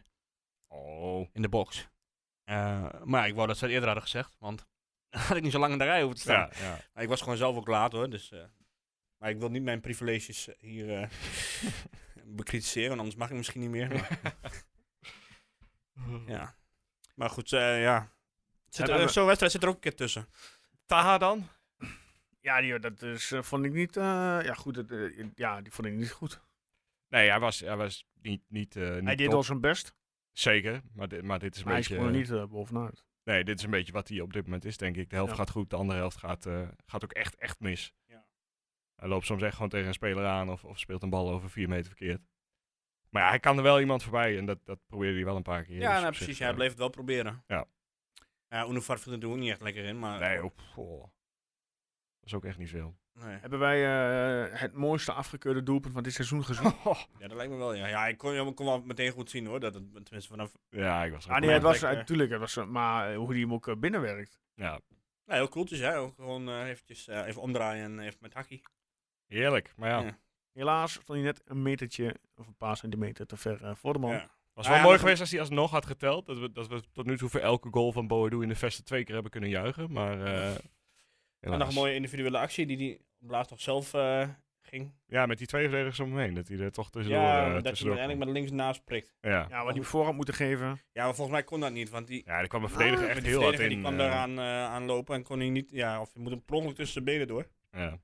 Speaker 4: oh.
Speaker 3: in de box. Eh, maar ik wou dat ze het eerder hadden gezegd, want dan had ik niet zo lang in de rij hoeven te staan.
Speaker 4: Ja, ja.
Speaker 3: Maar ik was gewoon zelf ook laat hoor, dus... eh, maar ik wil niet mijn privileges eh, hier eh, bekritiseren, want anders mag ik misschien niet meer. maar- ja. Maar goed, eh, ja. Zit er-
Speaker 1: Hebben we-
Speaker 3: Zo'n wedstrijd zit er ook een keer tussen.
Speaker 4: Taha dan?
Speaker 1: Ja, die, dat is, eh, vond ik niet. eh, ja, goed. dat, eh, ja, die vond ik niet goed.
Speaker 4: Nee, hij was, hij was niet, niet, eh, niet
Speaker 1: Hij deed
Speaker 4: top.
Speaker 1: al zijn best,
Speaker 4: Zeker, maar dit, maar dit is een
Speaker 1: maar hij
Speaker 4: beetje...
Speaker 1: sprong er niet eh, bovenuit.
Speaker 4: Nee, dit is een beetje wat hij op dit moment is, denk ik. De helft
Speaker 1: Ja.
Speaker 4: gaat goed, de andere helft gaat, eh, gaat ook echt, echt mis.
Speaker 3: Ja.
Speaker 4: Hij loopt soms echt gewoon tegen een speler aan of, of speelt een bal over vier meter verkeerd. Maar ja, hij kan er wel iemand voorbij en dat, dat probeerde hij wel een paar keer.
Speaker 3: Ja,
Speaker 4: dus
Speaker 3: nou,
Speaker 4: op zich,
Speaker 3: precies. Ja, hij
Speaker 4: eh,
Speaker 3: bleef het wel proberen.
Speaker 4: Ja.
Speaker 3: Ja, Unifar viel er toen ook niet echt lekker in, maar...
Speaker 4: Nee, oh, goh. dat is ook echt niet veel.
Speaker 3: Nee.
Speaker 1: Hebben wij eh, het mooiste afgekeurde doelpunt van dit seizoen gezien?
Speaker 3: Ja, dat lijkt me wel, ja. Ja, ik kon, ja, ik kon wel meteen goed zien, hoor. Dat het, tenminste, vanaf...
Speaker 4: Ja, ik was er
Speaker 1: ah,
Speaker 4: ook
Speaker 1: nee, het
Speaker 4: blij
Speaker 1: was
Speaker 3: lekker.
Speaker 1: natuurlijk. het was, eh, maar eh, hoe die hem ook eh, binnenwerkt.
Speaker 4: mee. Ja,
Speaker 3: Nou, heel cooltjes, hè. Ook gewoon eh, eventjes eh, even omdraaien en even met hakkie.
Speaker 4: heerlijk. Maar ja,
Speaker 3: Ja.
Speaker 1: Helaas stond hij net een metertje of een paar centimeter te ver eh, voor de man.
Speaker 3: Ja.
Speaker 4: was
Speaker 3: Ah,
Speaker 4: wel
Speaker 3: ja,
Speaker 4: mooi
Speaker 3: maar-
Speaker 4: geweest als hij alsnog had geteld. Dat we, dat we tot nu toe voor elke goal van Boadu in de vesten twee keer hebben kunnen juichen. Maar eh,
Speaker 3: En nog
Speaker 4: helaas.
Speaker 3: een mooie individuele actie die die op laatst nog zelf eh, ging.
Speaker 4: Ja, met die twee verdedigers om hem heen. Dat hij er toch tussendoor...
Speaker 3: ja,
Speaker 4: eh,
Speaker 3: dat hij
Speaker 4: tussendoor
Speaker 3: hem uiteindelijk
Speaker 4: komt.
Speaker 3: met links naast prikt.
Speaker 4: Ja.
Speaker 1: Ja, wat die voorhand moeten geven.
Speaker 3: Ja, maar volgens mij kon dat niet, want die... Ah,
Speaker 4: Ja, daar kwam een verdediger
Speaker 3: die
Speaker 4: echt heel hard
Speaker 3: verdediger
Speaker 4: in.
Speaker 3: die kwam
Speaker 4: eh,
Speaker 3: daaraan eh, aanlopen en kon hij niet... Ja, of je moet hem per ongeluk tussen de benen door.
Speaker 4: ja.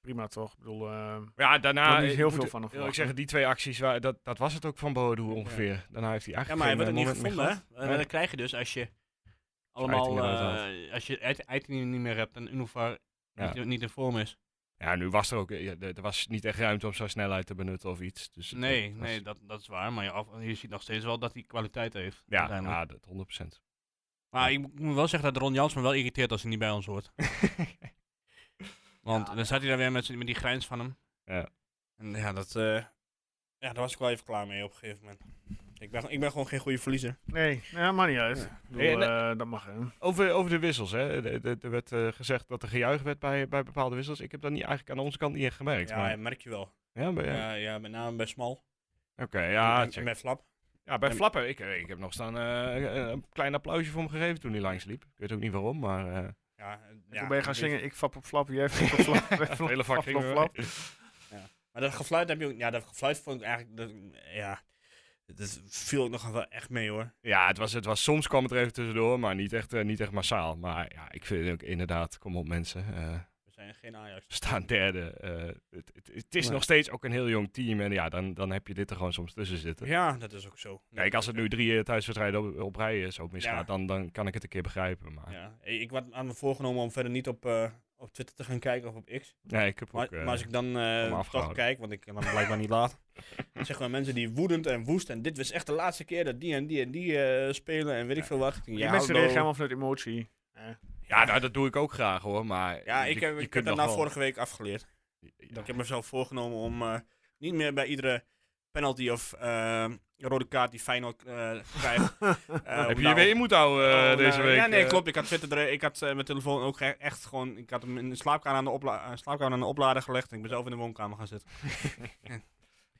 Speaker 1: Prima toch? Ik bedoel, eh,
Speaker 4: ja,
Speaker 1: Ik
Speaker 4: daarna...
Speaker 1: had niet
Speaker 4: ik
Speaker 1: heel
Speaker 4: moet-
Speaker 1: veel van hem
Speaker 4: wil Ik
Speaker 1: verwacht.
Speaker 4: zeggen, die twee acties, wa- dat, dat was het ook van Boadu ongeveer. Daarna heeft hij eigenlijk
Speaker 3: Ja, maar hij
Speaker 4: geen,
Speaker 3: werd het
Speaker 4: eh,
Speaker 3: niet
Speaker 4: moment meer
Speaker 3: gevonden, hè?
Speaker 4: gehad.
Speaker 3: En
Speaker 4: Nee.
Speaker 3: dan krijg je dus als je
Speaker 4: Eiting
Speaker 3: allemaal,
Speaker 4: eruit
Speaker 3: eh, als je Eit- Eiting niet meer hebt en Unova
Speaker 4: Ja.
Speaker 3: niet, niet in vorm is.
Speaker 4: Ja, nu was er ook... eh, ja, er er was niet echt ruimte om zijn snelheid te benutten of iets. Dus het-
Speaker 3: Nee,
Speaker 4: het was-
Speaker 3: nee, dat, dat is waar. Maar je, af- je ziet nog steeds wel dat hij kwaliteit heeft.
Speaker 4: Ja,
Speaker 3: uiteindelijk.
Speaker 4: ja, dat 100
Speaker 3: Maar ik moet wel zeggen dat Ron Jans me wel irriteert als hij niet bij ons hoort. Want
Speaker 1: Ja.
Speaker 3: dan staat hij daar weer met, z'n- met die grijns van hem.
Speaker 4: Ja.
Speaker 3: En ja, dat, eh, ja, daar was ik wel even klaar mee op een gegeven moment. Ik ben, ik ben gewoon geen goede verliezer.
Speaker 1: nee, ja, maar niet uit. Ik bedoel,
Speaker 4: Eh, nee.
Speaker 1: eh, dat mag. hè.
Speaker 4: Over, over de wissels, hè. De- de- Er werd eh, gezegd dat er gejuich werd bij, bij bepaalde wissels. Ik heb dat niet, eigenlijk aan onze kant niet echt gemerkt.
Speaker 3: Ja,
Speaker 4: maar-
Speaker 3: ja, merk je wel.
Speaker 4: ja, bij-
Speaker 3: Ja. ja, met name bij Smal.
Speaker 4: Oké, ja,
Speaker 3: en,
Speaker 4: check.
Speaker 3: en bij Flap.
Speaker 4: Ja, bij
Speaker 3: En-
Speaker 4: Flapper. Ik, ik heb nog staan eh, een klein applausje voor hem gegeven toen hij langs liep. Ik weet ook niet waarom, maar... eh,
Speaker 3: Ja, eh, ja,
Speaker 1: Toen ben je gaan
Speaker 3: een
Speaker 1: zingen, ik flap op flap, jij flap op flap. wij
Speaker 4: het hele vak
Speaker 1: flap
Speaker 4: ging eh,
Speaker 1: op
Speaker 4: weer
Speaker 1: flap.
Speaker 4: mee.
Speaker 3: Maar dat gefluit heb je ook. Ja, dat gefluit vond ik eigenlijk. Dat, ja, dat viel ook nog wel echt mee hoor.
Speaker 4: Ja, het was, het was, soms kwam het er even tussendoor, maar niet echt, eh, niet echt massaal. Maar ja, ik vind het ook inderdaad, kom op mensen, eh,
Speaker 3: We zijn geen Ajax.
Speaker 4: we staan derde. eh, het, het, het is
Speaker 3: Nee.
Speaker 4: nog steeds ook een heel jong team en ja, dan, dan heb je dit er gewoon soms tussen zitten.
Speaker 3: Ja, dat is ook zo.
Speaker 4: Kijk, als het nu drie eh, thuiswedstrijden op, op rij eh, zo misgaat,
Speaker 3: Ja.
Speaker 4: dan, dan kan ik het een keer begrijpen. Maar
Speaker 3: Ja, ik ik had aan me voorgenomen om verder niet op, eh, op Twitter te gaan kijken of op X.
Speaker 4: nee, ik heb
Speaker 3: Maar,
Speaker 4: ook... eh,
Speaker 3: maar als ik dan eh, toch
Speaker 4: afgehouden.
Speaker 3: kijk, want ik kan dan blijkbaar niet laat. Zeg maar mensen die woedend en woest. En dit was echt de laatste keer dat die en die en die eh, spelen en weet ik veel wat. Ik denk,
Speaker 1: Die
Speaker 3: ja,
Speaker 1: mensen
Speaker 3: hallo.
Speaker 1: reageren helemaal vanuit emotie.
Speaker 4: ja, nou, dat doe ik ook graag hoor, maar...
Speaker 3: Ja,
Speaker 4: je-
Speaker 3: ik heb,
Speaker 4: je
Speaker 3: ik heb
Speaker 4: kunt
Speaker 3: dat
Speaker 4: nog
Speaker 3: na
Speaker 4: wel-
Speaker 3: vorige week afgeleerd.
Speaker 4: Ja.
Speaker 3: Ik heb mezelf voorgenomen om eh, niet meer bij iedere penalty of ehm, rode kaart die Feyenoord eh, krijgt. eh,
Speaker 4: heb
Speaker 3: om
Speaker 4: je je
Speaker 3: daar-
Speaker 4: weer in moet houden eh,
Speaker 3: om, eh,
Speaker 4: deze week?
Speaker 3: Ja, nee,
Speaker 4: eh.
Speaker 3: klopt. Ik had, Twitter er, ik had eh, mijn telefoon ook e- echt gewoon... Ik had hem in de slaapkamer aan de, opla eh, slaapkamer aan de oplader gelegd en ik ben zelf in de woonkamer gaan zitten.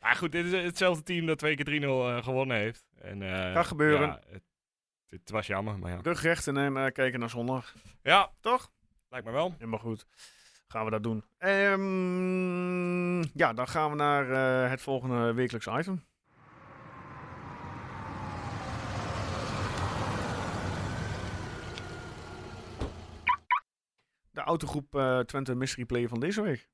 Speaker 4: Maar goed, dit is hetzelfde team dat twee keer 3-0 eh, gewonnen heeft. En, eh,
Speaker 1: Kan gebeuren.
Speaker 4: ja, het, het was jammer, maar ja.
Speaker 1: Rug recht en eh, kijken naar zondag.
Speaker 4: Ja,
Speaker 1: Toch?
Speaker 4: lijkt me wel.
Speaker 1: Helemaal goed. Gaan we dat doen. Ehm, ja, dan gaan we naar eh, het volgende wekelijks item. De autogroep eh, Twente Mystery Player van deze week.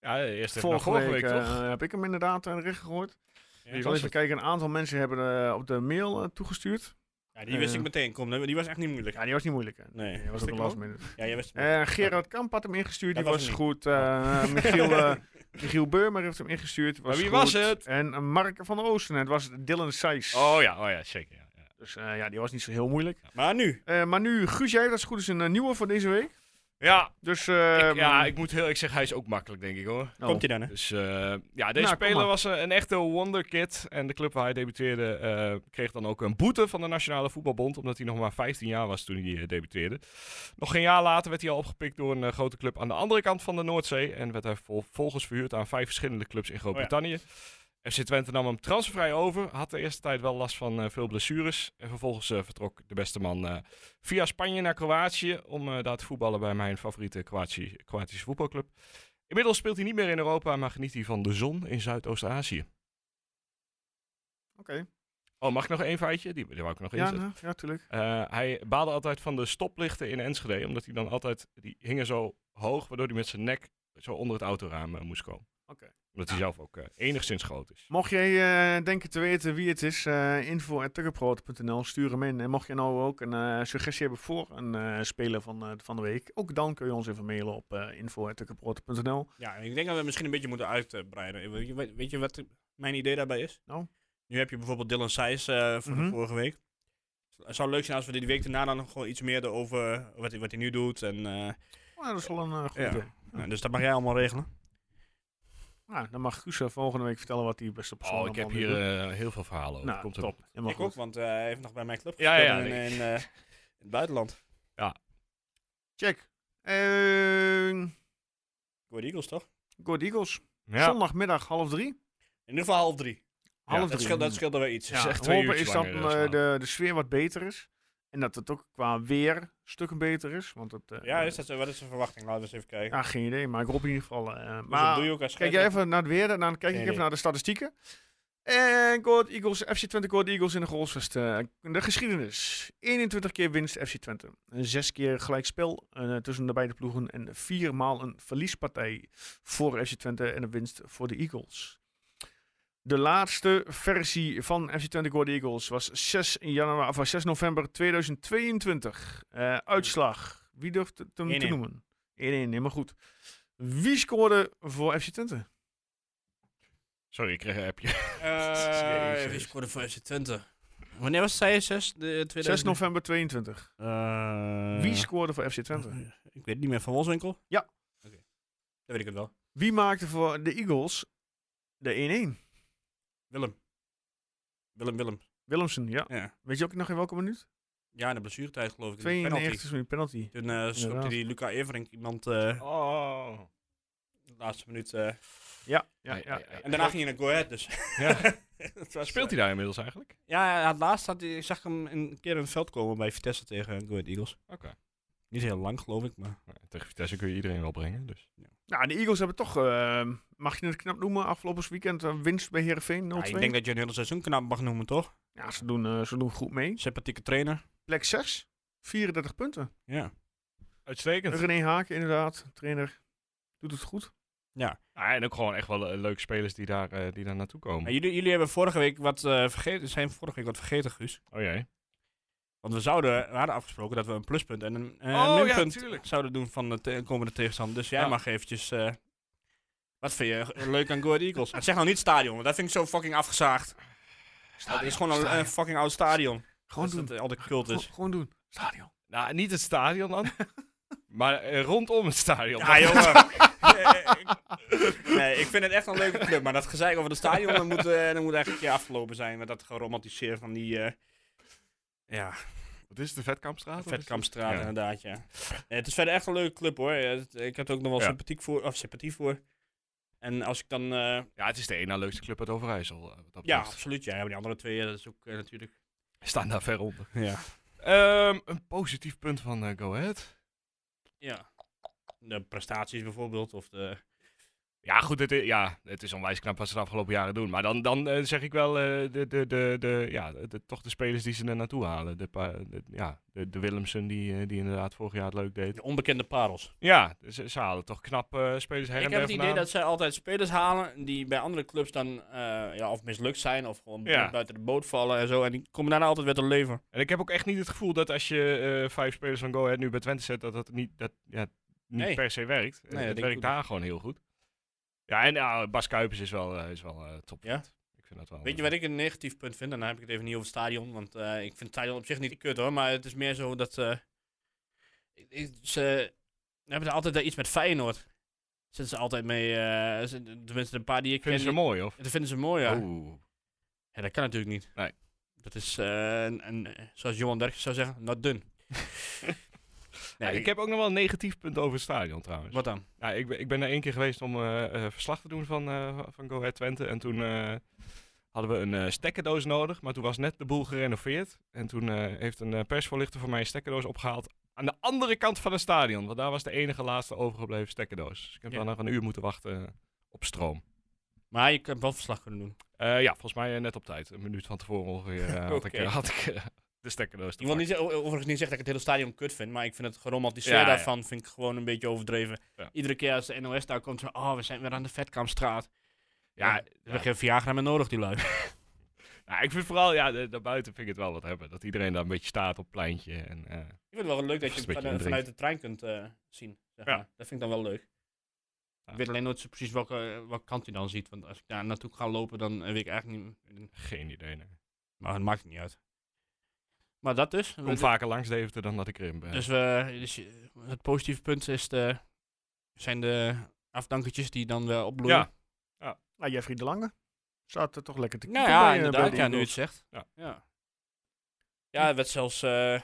Speaker 4: Ja, eerst even
Speaker 1: Vorige,
Speaker 4: naar nou vorige week,
Speaker 1: week,
Speaker 4: toch?
Speaker 1: eh, heb ik hem inderdaad aan de recht gegooid.
Speaker 4: Wie
Speaker 1: Ik
Speaker 4: was
Speaker 1: zal even
Speaker 4: het?
Speaker 1: kijken, een aantal mensen hebben eh, op de mail eh, toegestuurd.
Speaker 3: Ja, die wist
Speaker 1: Eh.
Speaker 3: ik meteen. Kom, die was echt niet moeilijk.
Speaker 1: Ja, die was niet moeilijk. Hè.
Speaker 3: Nee.
Speaker 1: die was
Speaker 3: Was
Speaker 1: ook een
Speaker 3: ik
Speaker 1: last
Speaker 3: ook?
Speaker 1: minute.
Speaker 3: Ja, jij wist het.
Speaker 1: Eh, Gerard Kamp had hem ingestuurd,
Speaker 3: Dat
Speaker 1: die
Speaker 3: was
Speaker 1: was,
Speaker 3: hem
Speaker 1: goed. Eh, Michiel, eh Michiel Beurmer heeft hem ingestuurd. Was
Speaker 4: Maar wie
Speaker 1: goed.
Speaker 4: was het?
Speaker 1: En eh, Mark van der Oosten, het was Dylan Seys.
Speaker 4: Oh ja, oh ja, zeker. Ja, ja.
Speaker 1: Dus eh, ja, die was niet zo heel moeilijk.
Speaker 3: maar nu.
Speaker 1: Eh, maar nu, Guus, jij hebt als het goed is een eh, nieuwe voor deze week.
Speaker 4: Ja,
Speaker 1: Dus, eh,
Speaker 4: ik, ja, ik moet heel eerlijk zeggen, hij is ook makkelijk, denk ik hoor.
Speaker 1: oh.
Speaker 3: Komt hij dan, hè?
Speaker 4: Dus eh, ja, deze
Speaker 1: Nou, kom
Speaker 4: speler
Speaker 1: maar.
Speaker 4: was eh, een echte wonderkid. En de club waar hij debuteerde eh, kreeg dan ook een boete van de Nationale Voetbalbond. Omdat hij nog maar 15 jaar was toen hij eh, debuteerde. Nog geen jaar later werd hij al opgepikt door een eh, grote club aan de andere kant van de Noordzee. En werd hij vervolgens verhuurd aan vijf verschillende clubs in Groot-Brittannië.
Speaker 1: Oh,
Speaker 4: FC Twente nam hem transfervrij over. Had de eerste tijd wel last van eh, veel blessures. En vervolgens eh, vertrok de beste man eh, via Spanje naar Kroatië. Om eh, daar te voetballen bij mijn favoriete Kroatië- Kroatische voetbalclub. Inmiddels speelt hij niet meer in Europa, maar geniet hij van de zon in Zuidoost-Azië.
Speaker 1: Oké.
Speaker 4: Oh, mag ik nog één feitje? Die, die wou ik er nog
Speaker 1: Ja,
Speaker 4: inzetten.
Speaker 1: nou, ja, tuurlijk.
Speaker 4: Eh, hij baalde altijd van de stoplichten in Enschede, omdat hij dan altijd, die hingen zo hoog, waardoor hij met zijn nek zo onder het autoraam eh, moest komen.
Speaker 1: Oké.
Speaker 4: Omdat hij zelf ook eh, enigszins groot is.
Speaker 1: Mocht jij eh, denken te weten wie het is, eh info.tukkerproot.nl, stuur hem in. En mocht je nou ook een eh, suggestie hebben voor een eh, speler van, eh, van de week, ook dan kun je ons even mailen op eh info.tukkerproot.nl.
Speaker 3: Ja, ik denk dat we misschien een beetje moeten uitbreiden. Weet je, weet- weet je wat mijn idee daarbij is?
Speaker 1: Nou?
Speaker 3: Nu heb je bijvoorbeeld Dylan Seys eh, van
Speaker 1: Mhm.
Speaker 3: vorige week. Het zou leuk zijn als we die week daarna dan nog gewoon iets meer over wat hij, wat hij nu doet. En, eh,
Speaker 1: Maar dat is wel een eh, goed
Speaker 3: Ja.
Speaker 1: idee.
Speaker 3: nou, dus dat mag jij allemaal regelen.
Speaker 1: Nou, dan mag Guus eh, volgende week vertellen wat die beste persoon
Speaker 4: Oh, ik heb
Speaker 1: allemaal
Speaker 4: hier
Speaker 1: doet.
Speaker 4: eh, heel veel verhalen over.
Speaker 1: nou,
Speaker 4: Komt er-
Speaker 1: top. Helemaal
Speaker 3: ik
Speaker 1: goed.
Speaker 3: ook, want eh, hij heeft nog bij mijn club
Speaker 4: Ja,
Speaker 3: gespeeld
Speaker 4: ja,
Speaker 3: in,
Speaker 4: nee.
Speaker 3: in, eh, in het buitenland.
Speaker 1: Check. Eh,
Speaker 3: Go Ahead Eagles, toch?
Speaker 1: Go Ahead Eagles.
Speaker 4: Ja.
Speaker 1: Zondagmiddag half drie.
Speaker 3: In ieder geval half drie.
Speaker 1: Half drie.
Speaker 3: Dat, scheelt, dat scheelde wel iets.
Speaker 4: Ja.
Speaker 3: Ja.
Speaker 4: is echt
Speaker 1: We hopen
Speaker 4: twee
Speaker 1: is dat
Speaker 4: uurtjes langer,
Speaker 1: eh,
Speaker 4: eh,
Speaker 1: de, de sfeer wat beter is. En dat het ook qua weer stukken beter is. Want het, eh,
Speaker 3: Ja, is dat, zo? wat is de verwachting? Laten we eens even kijken.
Speaker 1: ja, geen idee, maar ik hoop in ieder geval. eh,
Speaker 3: Dus dat
Speaker 1: maar
Speaker 3: doe je ook als
Speaker 1: kijk jij
Speaker 3: scheidsrechter.
Speaker 1: even naar het weer, dan kijk ik
Speaker 3: Nee,
Speaker 1: even
Speaker 3: nee.
Speaker 1: naar de statistieken. En Go Ahead Eagles, FC Twente Go Ahead Eagles in de goalsvest. eh, de geschiedenis. 21 keer winst FC Twente. 6 keer gelijkspel eh, tussen de beide ploegen. En 4 maal een verliespartij voor FC Twente en een winst voor de Eagles. De laatste versie van FC Twente Go Ahead Eagles was 6, januari, of was 6 november 2022. Eh, uitslag. Wie durft het hem te
Speaker 3: 1-1.
Speaker 1: noemen? 1-1, helemaal goed. Wie scoorde voor FC Twente?
Speaker 4: Sorry, ik kreeg een appje.
Speaker 3: Eh,
Speaker 4: Jezus.
Speaker 3: Wie scoorde voor FC Twente? Wanneer was zij 6? De eh,
Speaker 1: 6
Speaker 3: 2000?
Speaker 1: november 22.
Speaker 3: Eh,
Speaker 1: Wie scoorde voor FC Twente?
Speaker 3: Ik weet het niet meer. Van Wolfswinkel?
Speaker 1: Ja.
Speaker 3: Oké. Dan weet ik het wel.
Speaker 1: Wie maakte voor de Eagles de 1-1?
Speaker 3: Willem. Willem, Willem.
Speaker 1: Willemsen, ja.
Speaker 3: Ja,
Speaker 1: Weet je ook nog in welke minuut?
Speaker 3: ja in de blessuretijd geloof ik. in de penalty.
Speaker 1: 92 minuut penalty.
Speaker 3: Toen eh schopte
Speaker 1: Inderdaad.
Speaker 3: die Luca Everink iemand eh
Speaker 4: Oh.
Speaker 3: de laatste minuut. eh,
Speaker 1: Ja, ja,
Speaker 4: Nee,
Speaker 1: ja.
Speaker 4: nee, nee.
Speaker 3: en daarna ging hij naar Go Ahead dus.
Speaker 4: Ja.
Speaker 3: Het was, eh,
Speaker 4: Speelt hij daar inmiddels eigenlijk?
Speaker 3: Ja, het laatst had, hij- ik zag hem een keer in het veld komen bij Vitesse tegen Go Ahead Eagles.
Speaker 4: Oké.
Speaker 3: Niet heel lang geloof ik, maar...
Speaker 4: Nou, Tegen Vitesse kun je iedereen wel brengen, dus.
Speaker 1: Nou, de Eagles hebben toch, eh, mag je het knap noemen, afgelopen weekend een winst bij Heerenveen 0-2.
Speaker 4: Nou,
Speaker 3: Ja, ik denk dat je een hele seizoen knap mag noemen, toch?
Speaker 1: Ja, ze doen, eh, ze doen goed mee.
Speaker 3: Sympathieke trainer.
Speaker 1: Plek 6, 34 punten.
Speaker 3: Ja.
Speaker 4: Uitstekend.
Speaker 1: René Haken inderdaad, trainer, doet het goed.
Speaker 4: Ah, en ook gewoon echt wel eh, leuke spelers die daar, eh, die daar naartoe
Speaker 3: Maar
Speaker 4: komen.
Speaker 3: jullie, jullie hebben vorige week wat eh, vergeten, zijn vorige week wat vergeten, Guus.
Speaker 4: Oh jee.
Speaker 3: Want we zouden, we hadden afgesproken dat we een pluspunt en een, eh,
Speaker 4: Oh, ja,
Speaker 3: een minpunt
Speaker 4: tuurlijk.
Speaker 3: zouden doen van de te- komende tegenstander. Dus jij
Speaker 4: Ja.
Speaker 3: mag eventjes, eh, wat vind je eh, leuk aan Go Ahead Eagles? En zeg nou niet stadion, want dat vind ik zo fucking afgezaagd. Het is gewoon een eh, fucking oud stadion.
Speaker 1: Gewoon
Speaker 3: dat
Speaker 1: doen.
Speaker 3: het, eh, al de cult
Speaker 1: Gewoon,
Speaker 3: is.
Speaker 1: gewoon doen. Stadion.
Speaker 4: Nou, niet het stadion dan. maar eh, rondom het stadion.
Speaker 3: Ja, jongen. Eh, ik- nee, ik vind het echt een leuke club, maar dat gezeik over het stadion, dat moet, eh, dat moet echt een keer afgelopen zijn. Met dat geromantiseerd van die, eh, ja,
Speaker 4: Wat is het, de Vetkampstraat?
Speaker 3: Vetkampstraat
Speaker 4: Ja.
Speaker 3: inderdaad, ja. Nee, het is verder echt een leuke club hoor. Ja, het- Ik heb er ook nog wel
Speaker 4: Ja.
Speaker 3: sympathiek voor, of sympathie voor. En als ik dan... eh,
Speaker 4: Ja, het is de ene na leukste club uit Overijssel. eh, Wat dat
Speaker 3: ja,
Speaker 4: betreft.
Speaker 3: absoluut. Ja, maar die andere twee, ja, dat is ook eh, natuurlijk...
Speaker 4: Staan daar ver onder.
Speaker 3: Ja.
Speaker 4: Ehm, een positief punt van eh, Go Ahead.
Speaker 3: ja. De prestaties bijvoorbeeld, of de...
Speaker 4: Ja, goed, het, i- ja, het is onwijs knap wat ze de afgelopen jaren doen. Maar dan, dan eh, zeg ik wel eh, de, de, de, de, ja, de, toch de spelers die ze er naartoe halen. De, pa- de- ja, de, de Willemsen die, eh, die inderdaad vorig jaar het leuk deed.
Speaker 3: De onbekende parels.
Speaker 4: Ja, ze, ze halen toch knap eh, spelers her en
Speaker 3: ik
Speaker 4: der
Speaker 3: heb het idee
Speaker 4: vandaan.
Speaker 3: dat zij altijd spelers halen die bij andere clubs dan eh, ja, of mislukt zijn of gewoon
Speaker 4: Ja.
Speaker 3: buiten de boot vallen en zo. En die komen daarna altijd weer te leven.
Speaker 4: En ik heb ook echt niet het gevoel dat als je eh, vijf spelers van Go Ahead nu bij Twente zet, dat dat niet, dat, ja, niet
Speaker 3: Nee.
Speaker 4: per se werkt.
Speaker 3: dat
Speaker 4: het
Speaker 3: denk ik
Speaker 4: werkt
Speaker 3: ook
Speaker 4: daar gewoon heel goed. Ja, en ja, Bas Kuipers is wel, eh, is wel eh, top.
Speaker 3: Ja?
Speaker 4: Ik vind dat wel.
Speaker 3: Weet je wat ik een negatief punt vind? En dan heb ik het even niet over het stadion. Want eh, ik vind het stadion op zich niet kut hoor. Maar het is meer zo dat. eh, ik- ik- ze hebben er altijd iets met Feyenoord. Zitten ze altijd mee. eh, ze- tenminste, een paar die ik
Speaker 4: Vinden ze
Speaker 3: ken.
Speaker 4: mooi, of? Oh.
Speaker 3: die- dat vinden ze mooi, ja.
Speaker 4: Oeh.
Speaker 3: Ja, dat kan natuurlijk niet.
Speaker 4: Nee.
Speaker 3: Dat is, eh, een, een- eh, zoals Johan Derksen zou zeggen, not dun.
Speaker 4: Ja,
Speaker 3: nee,
Speaker 4: ik heb ook nog wel een negatief punt over het stadion trouwens.
Speaker 3: Wat dan?
Speaker 4: Ja, ik, ben, ik ben er één keer geweest om eh, eh, verslag te doen van, eh, van Go Ahead Twente. En toen eh, hadden we een eh, stekkerdoos nodig. Maar toen was net de boel gerenoveerd. En toen eh, heeft een eh, persvoorlichter van mij een stekkerdoos opgehaald. Aan de andere kant van het stadion. Want daar was de enige laatste overgebleven stekkerdoos. Dus ik heb
Speaker 3: Ja.
Speaker 4: dan nog een uur moeten wachten op stroom.
Speaker 3: Maar je kunt wel verslag kunnen doen.
Speaker 4: Eh, ja, volgens mij eh, net op tijd. Een minuut van tevoren ongeveer eh, had ik,
Speaker 3: Oké.
Speaker 4: had ik eh, de stekkerdoos te
Speaker 3: Ik wil
Speaker 4: pakken.
Speaker 3: niet, o- overigens niet zeggen dat ik het hele stadion kut vind, maar ik vind het geromantiseerd
Speaker 4: Ja, ja.
Speaker 3: daarvan vind ik gewoon een beetje overdreven.
Speaker 4: Ja.
Speaker 3: Iedere keer als de NOS daar komt, zo, oh, we zijn weer aan de Vetkampstraat. Ja,
Speaker 4: Ja,
Speaker 3: we hebben geen Viagra meer nodig, die lui.
Speaker 4: Nou, ik vind vooral, ja, de- daarbuiten vind ik het wel wat hebben. Dat iedereen daar een beetje staat op het pleintje. En, eh,
Speaker 3: Ik vind het wel leuk dat
Speaker 4: Dat is
Speaker 3: je
Speaker 4: een
Speaker 3: het van-
Speaker 4: beetje een
Speaker 3: vanuit de trein kunt eh, zien. Zeg
Speaker 4: Ja.
Speaker 3: maar. Dat vind ik dan wel leuk.
Speaker 4: Ja.
Speaker 3: Ik weet alleen nooit zo precies welke, welke kant hij dan ziet. Want als ik daar naartoe ga lopen, dan eh, weet ik eigenlijk niet.
Speaker 4: geen idee, nee.
Speaker 3: Maar het maakt niet uit. Maar dat dus.
Speaker 4: Ik kom vaker langs Deventer dan dat ik erin ben.
Speaker 3: Dus, we, dus je- het positieve punt is de, zijn de afdankertjes die dan weer opbloeien.
Speaker 4: Ja.
Speaker 1: Nou, Jeffrey de Lange staat er toch lekker te
Speaker 3: Nou
Speaker 1: keeper bij,
Speaker 3: ja,
Speaker 1: eh, bij
Speaker 3: inderdaad.
Speaker 1: de
Speaker 3: Ja, nu je het
Speaker 1: Eagles.
Speaker 3: zegt.
Speaker 4: Ja.
Speaker 3: ja. Ja, het werd zelfs... eh,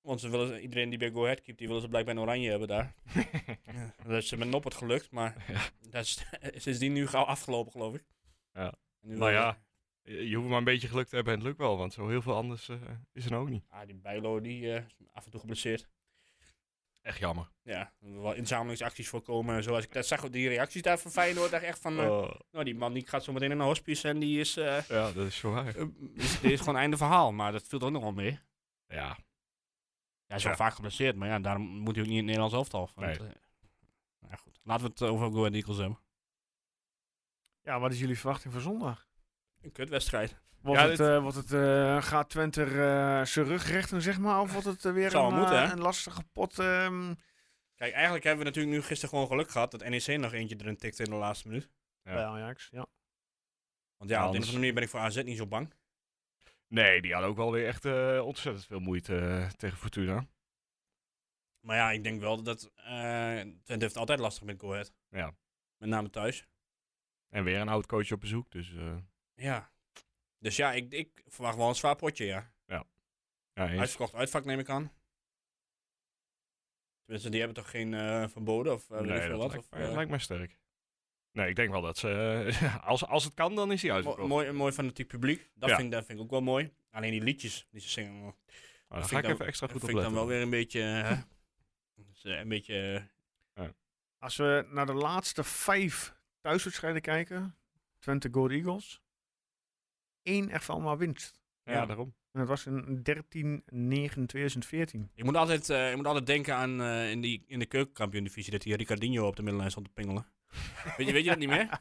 Speaker 3: want ze willen, iedereen die bij Go Ahead keept, die willen ze blijkbaar in oranje hebben daar. Ja, Dat is met Noppert gelukt, maar dat is sindsdien nu gauw afgelopen, geloof ik.
Speaker 4: Ja.
Speaker 3: En nu
Speaker 4: Nou
Speaker 3: wil-
Speaker 4: ja. je je hoeft maar een beetje geluk te hebben en het lukt wel, want zo heel veel anders eh, is er ook niet.
Speaker 3: Ah, die Bijlo, die eh, is af en toe geblesseerd.
Speaker 4: Echt jammer.
Speaker 3: Ja, er moeten wel inzamelingsacties voorkomen en zo. Als ik dat zag, die reacties daar van Feyenoord, dacht ik echt van... eh,
Speaker 1: Oh.
Speaker 3: nou, die man die gaat zo meteen in een hospice en die is... eh,
Speaker 4: Oh, ja, dat is zo waar.
Speaker 3: eh, is- dit is gewoon einde verhaal, maar dat viel ook nog wel mee.
Speaker 4: Ja,
Speaker 3: Ja, hij is wel
Speaker 4: Ja.
Speaker 3: vaak geblesseerd, maar ja, daarom moet hij ook niet in het Nederlands elftal. Want, eh, ja, goed. Laten we het over Go Ahead Eagles hebben.
Speaker 1: Ja, wat is jullie verwachting voor zondag?
Speaker 3: Een kutwedstrijd.
Speaker 1: Wordt
Speaker 4: Ja,
Speaker 1: het,
Speaker 4: dit-
Speaker 1: eh, wordt het eh, gaat Twente er, eh, zijn rug rechten, zeg maar? Of wordt het eh, weer
Speaker 3: Zou
Speaker 1: een,
Speaker 3: wel moeten,
Speaker 1: eh,
Speaker 3: hè?
Speaker 1: een lastige pot? ehm,
Speaker 3: Kijk, eigenlijk hebben we natuurlijk nu gisteren gewoon geluk gehad dat NEC nog eentje erin tikte in de laatste minuut.
Speaker 4: Ja.
Speaker 1: Bij Ajax, ja.
Speaker 3: Want ja, op de een
Speaker 4: Anders-
Speaker 3: of andere manier ben ik voor AZ niet zo bang.
Speaker 4: nee, die hadden ook wel weer echt eh, ontzettend veel moeite eh, tegen Fortuna.
Speaker 3: Maar ja, ik denk wel dat eh Twente heeft altijd lastig met Go Ahead.
Speaker 4: Ja.
Speaker 3: Met name thuis.
Speaker 4: En weer een oud coach op bezoek, dus eh
Speaker 3: Ja. Dus ja, ik, ik verwacht wel een zwaar potje, ja.
Speaker 4: ja, eens.
Speaker 3: Uitverkocht uitvak neem ik aan. Tenminste, die hebben toch geen eh, verboden of eh, weet ik
Speaker 4: nee,
Speaker 3: veel
Speaker 4: dat
Speaker 3: wat.
Speaker 4: lijkt,
Speaker 3: of,
Speaker 4: mij-
Speaker 3: eh,
Speaker 4: lijkt mij sterk. Nee, ik denk wel dat ze, eh, als, als het kan, dan is hij
Speaker 3: Mo-
Speaker 4: uitverkocht.
Speaker 3: mooi, mooi fanatiek publiek. Dat,
Speaker 4: Ja.
Speaker 3: vind, ik- dat vind ik ook wel mooi. Alleen die liedjes die ze zingen, oh,
Speaker 4: Maar
Speaker 3: vind
Speaker 4: daar ga
Speaker 3: ik
Speaker 4: ik
Speaker 3: dan-
Speaker 4: even extra
Speaker 3: dat
Speaker 4: goed
Speaker 3: vind
Speaker 4: op
Speaker 3: ik dan
Speaker 4: letten.
Speaker 3: wel weer een beetje... eh, dus, eh, een beetje eh,
Speaker 1: Als we naar de laatste vijf thuiswedstrijden kijken, Twente Go Ahead Eagles, één echt wel maar winst.
Speaker 4: ja,
Speaker 3: ja.
Speaker 4: daarom.
Speaker 1: En dat was in 13-9-2014.
Speaker 3: ik, moet altijd, eh, ik moet altijd denken aan eh, in, die, in de keukenkampioen-divisie dat die Ricardinho op de middenlijn stond te pingelen. weet, je, weet je dat niet meer?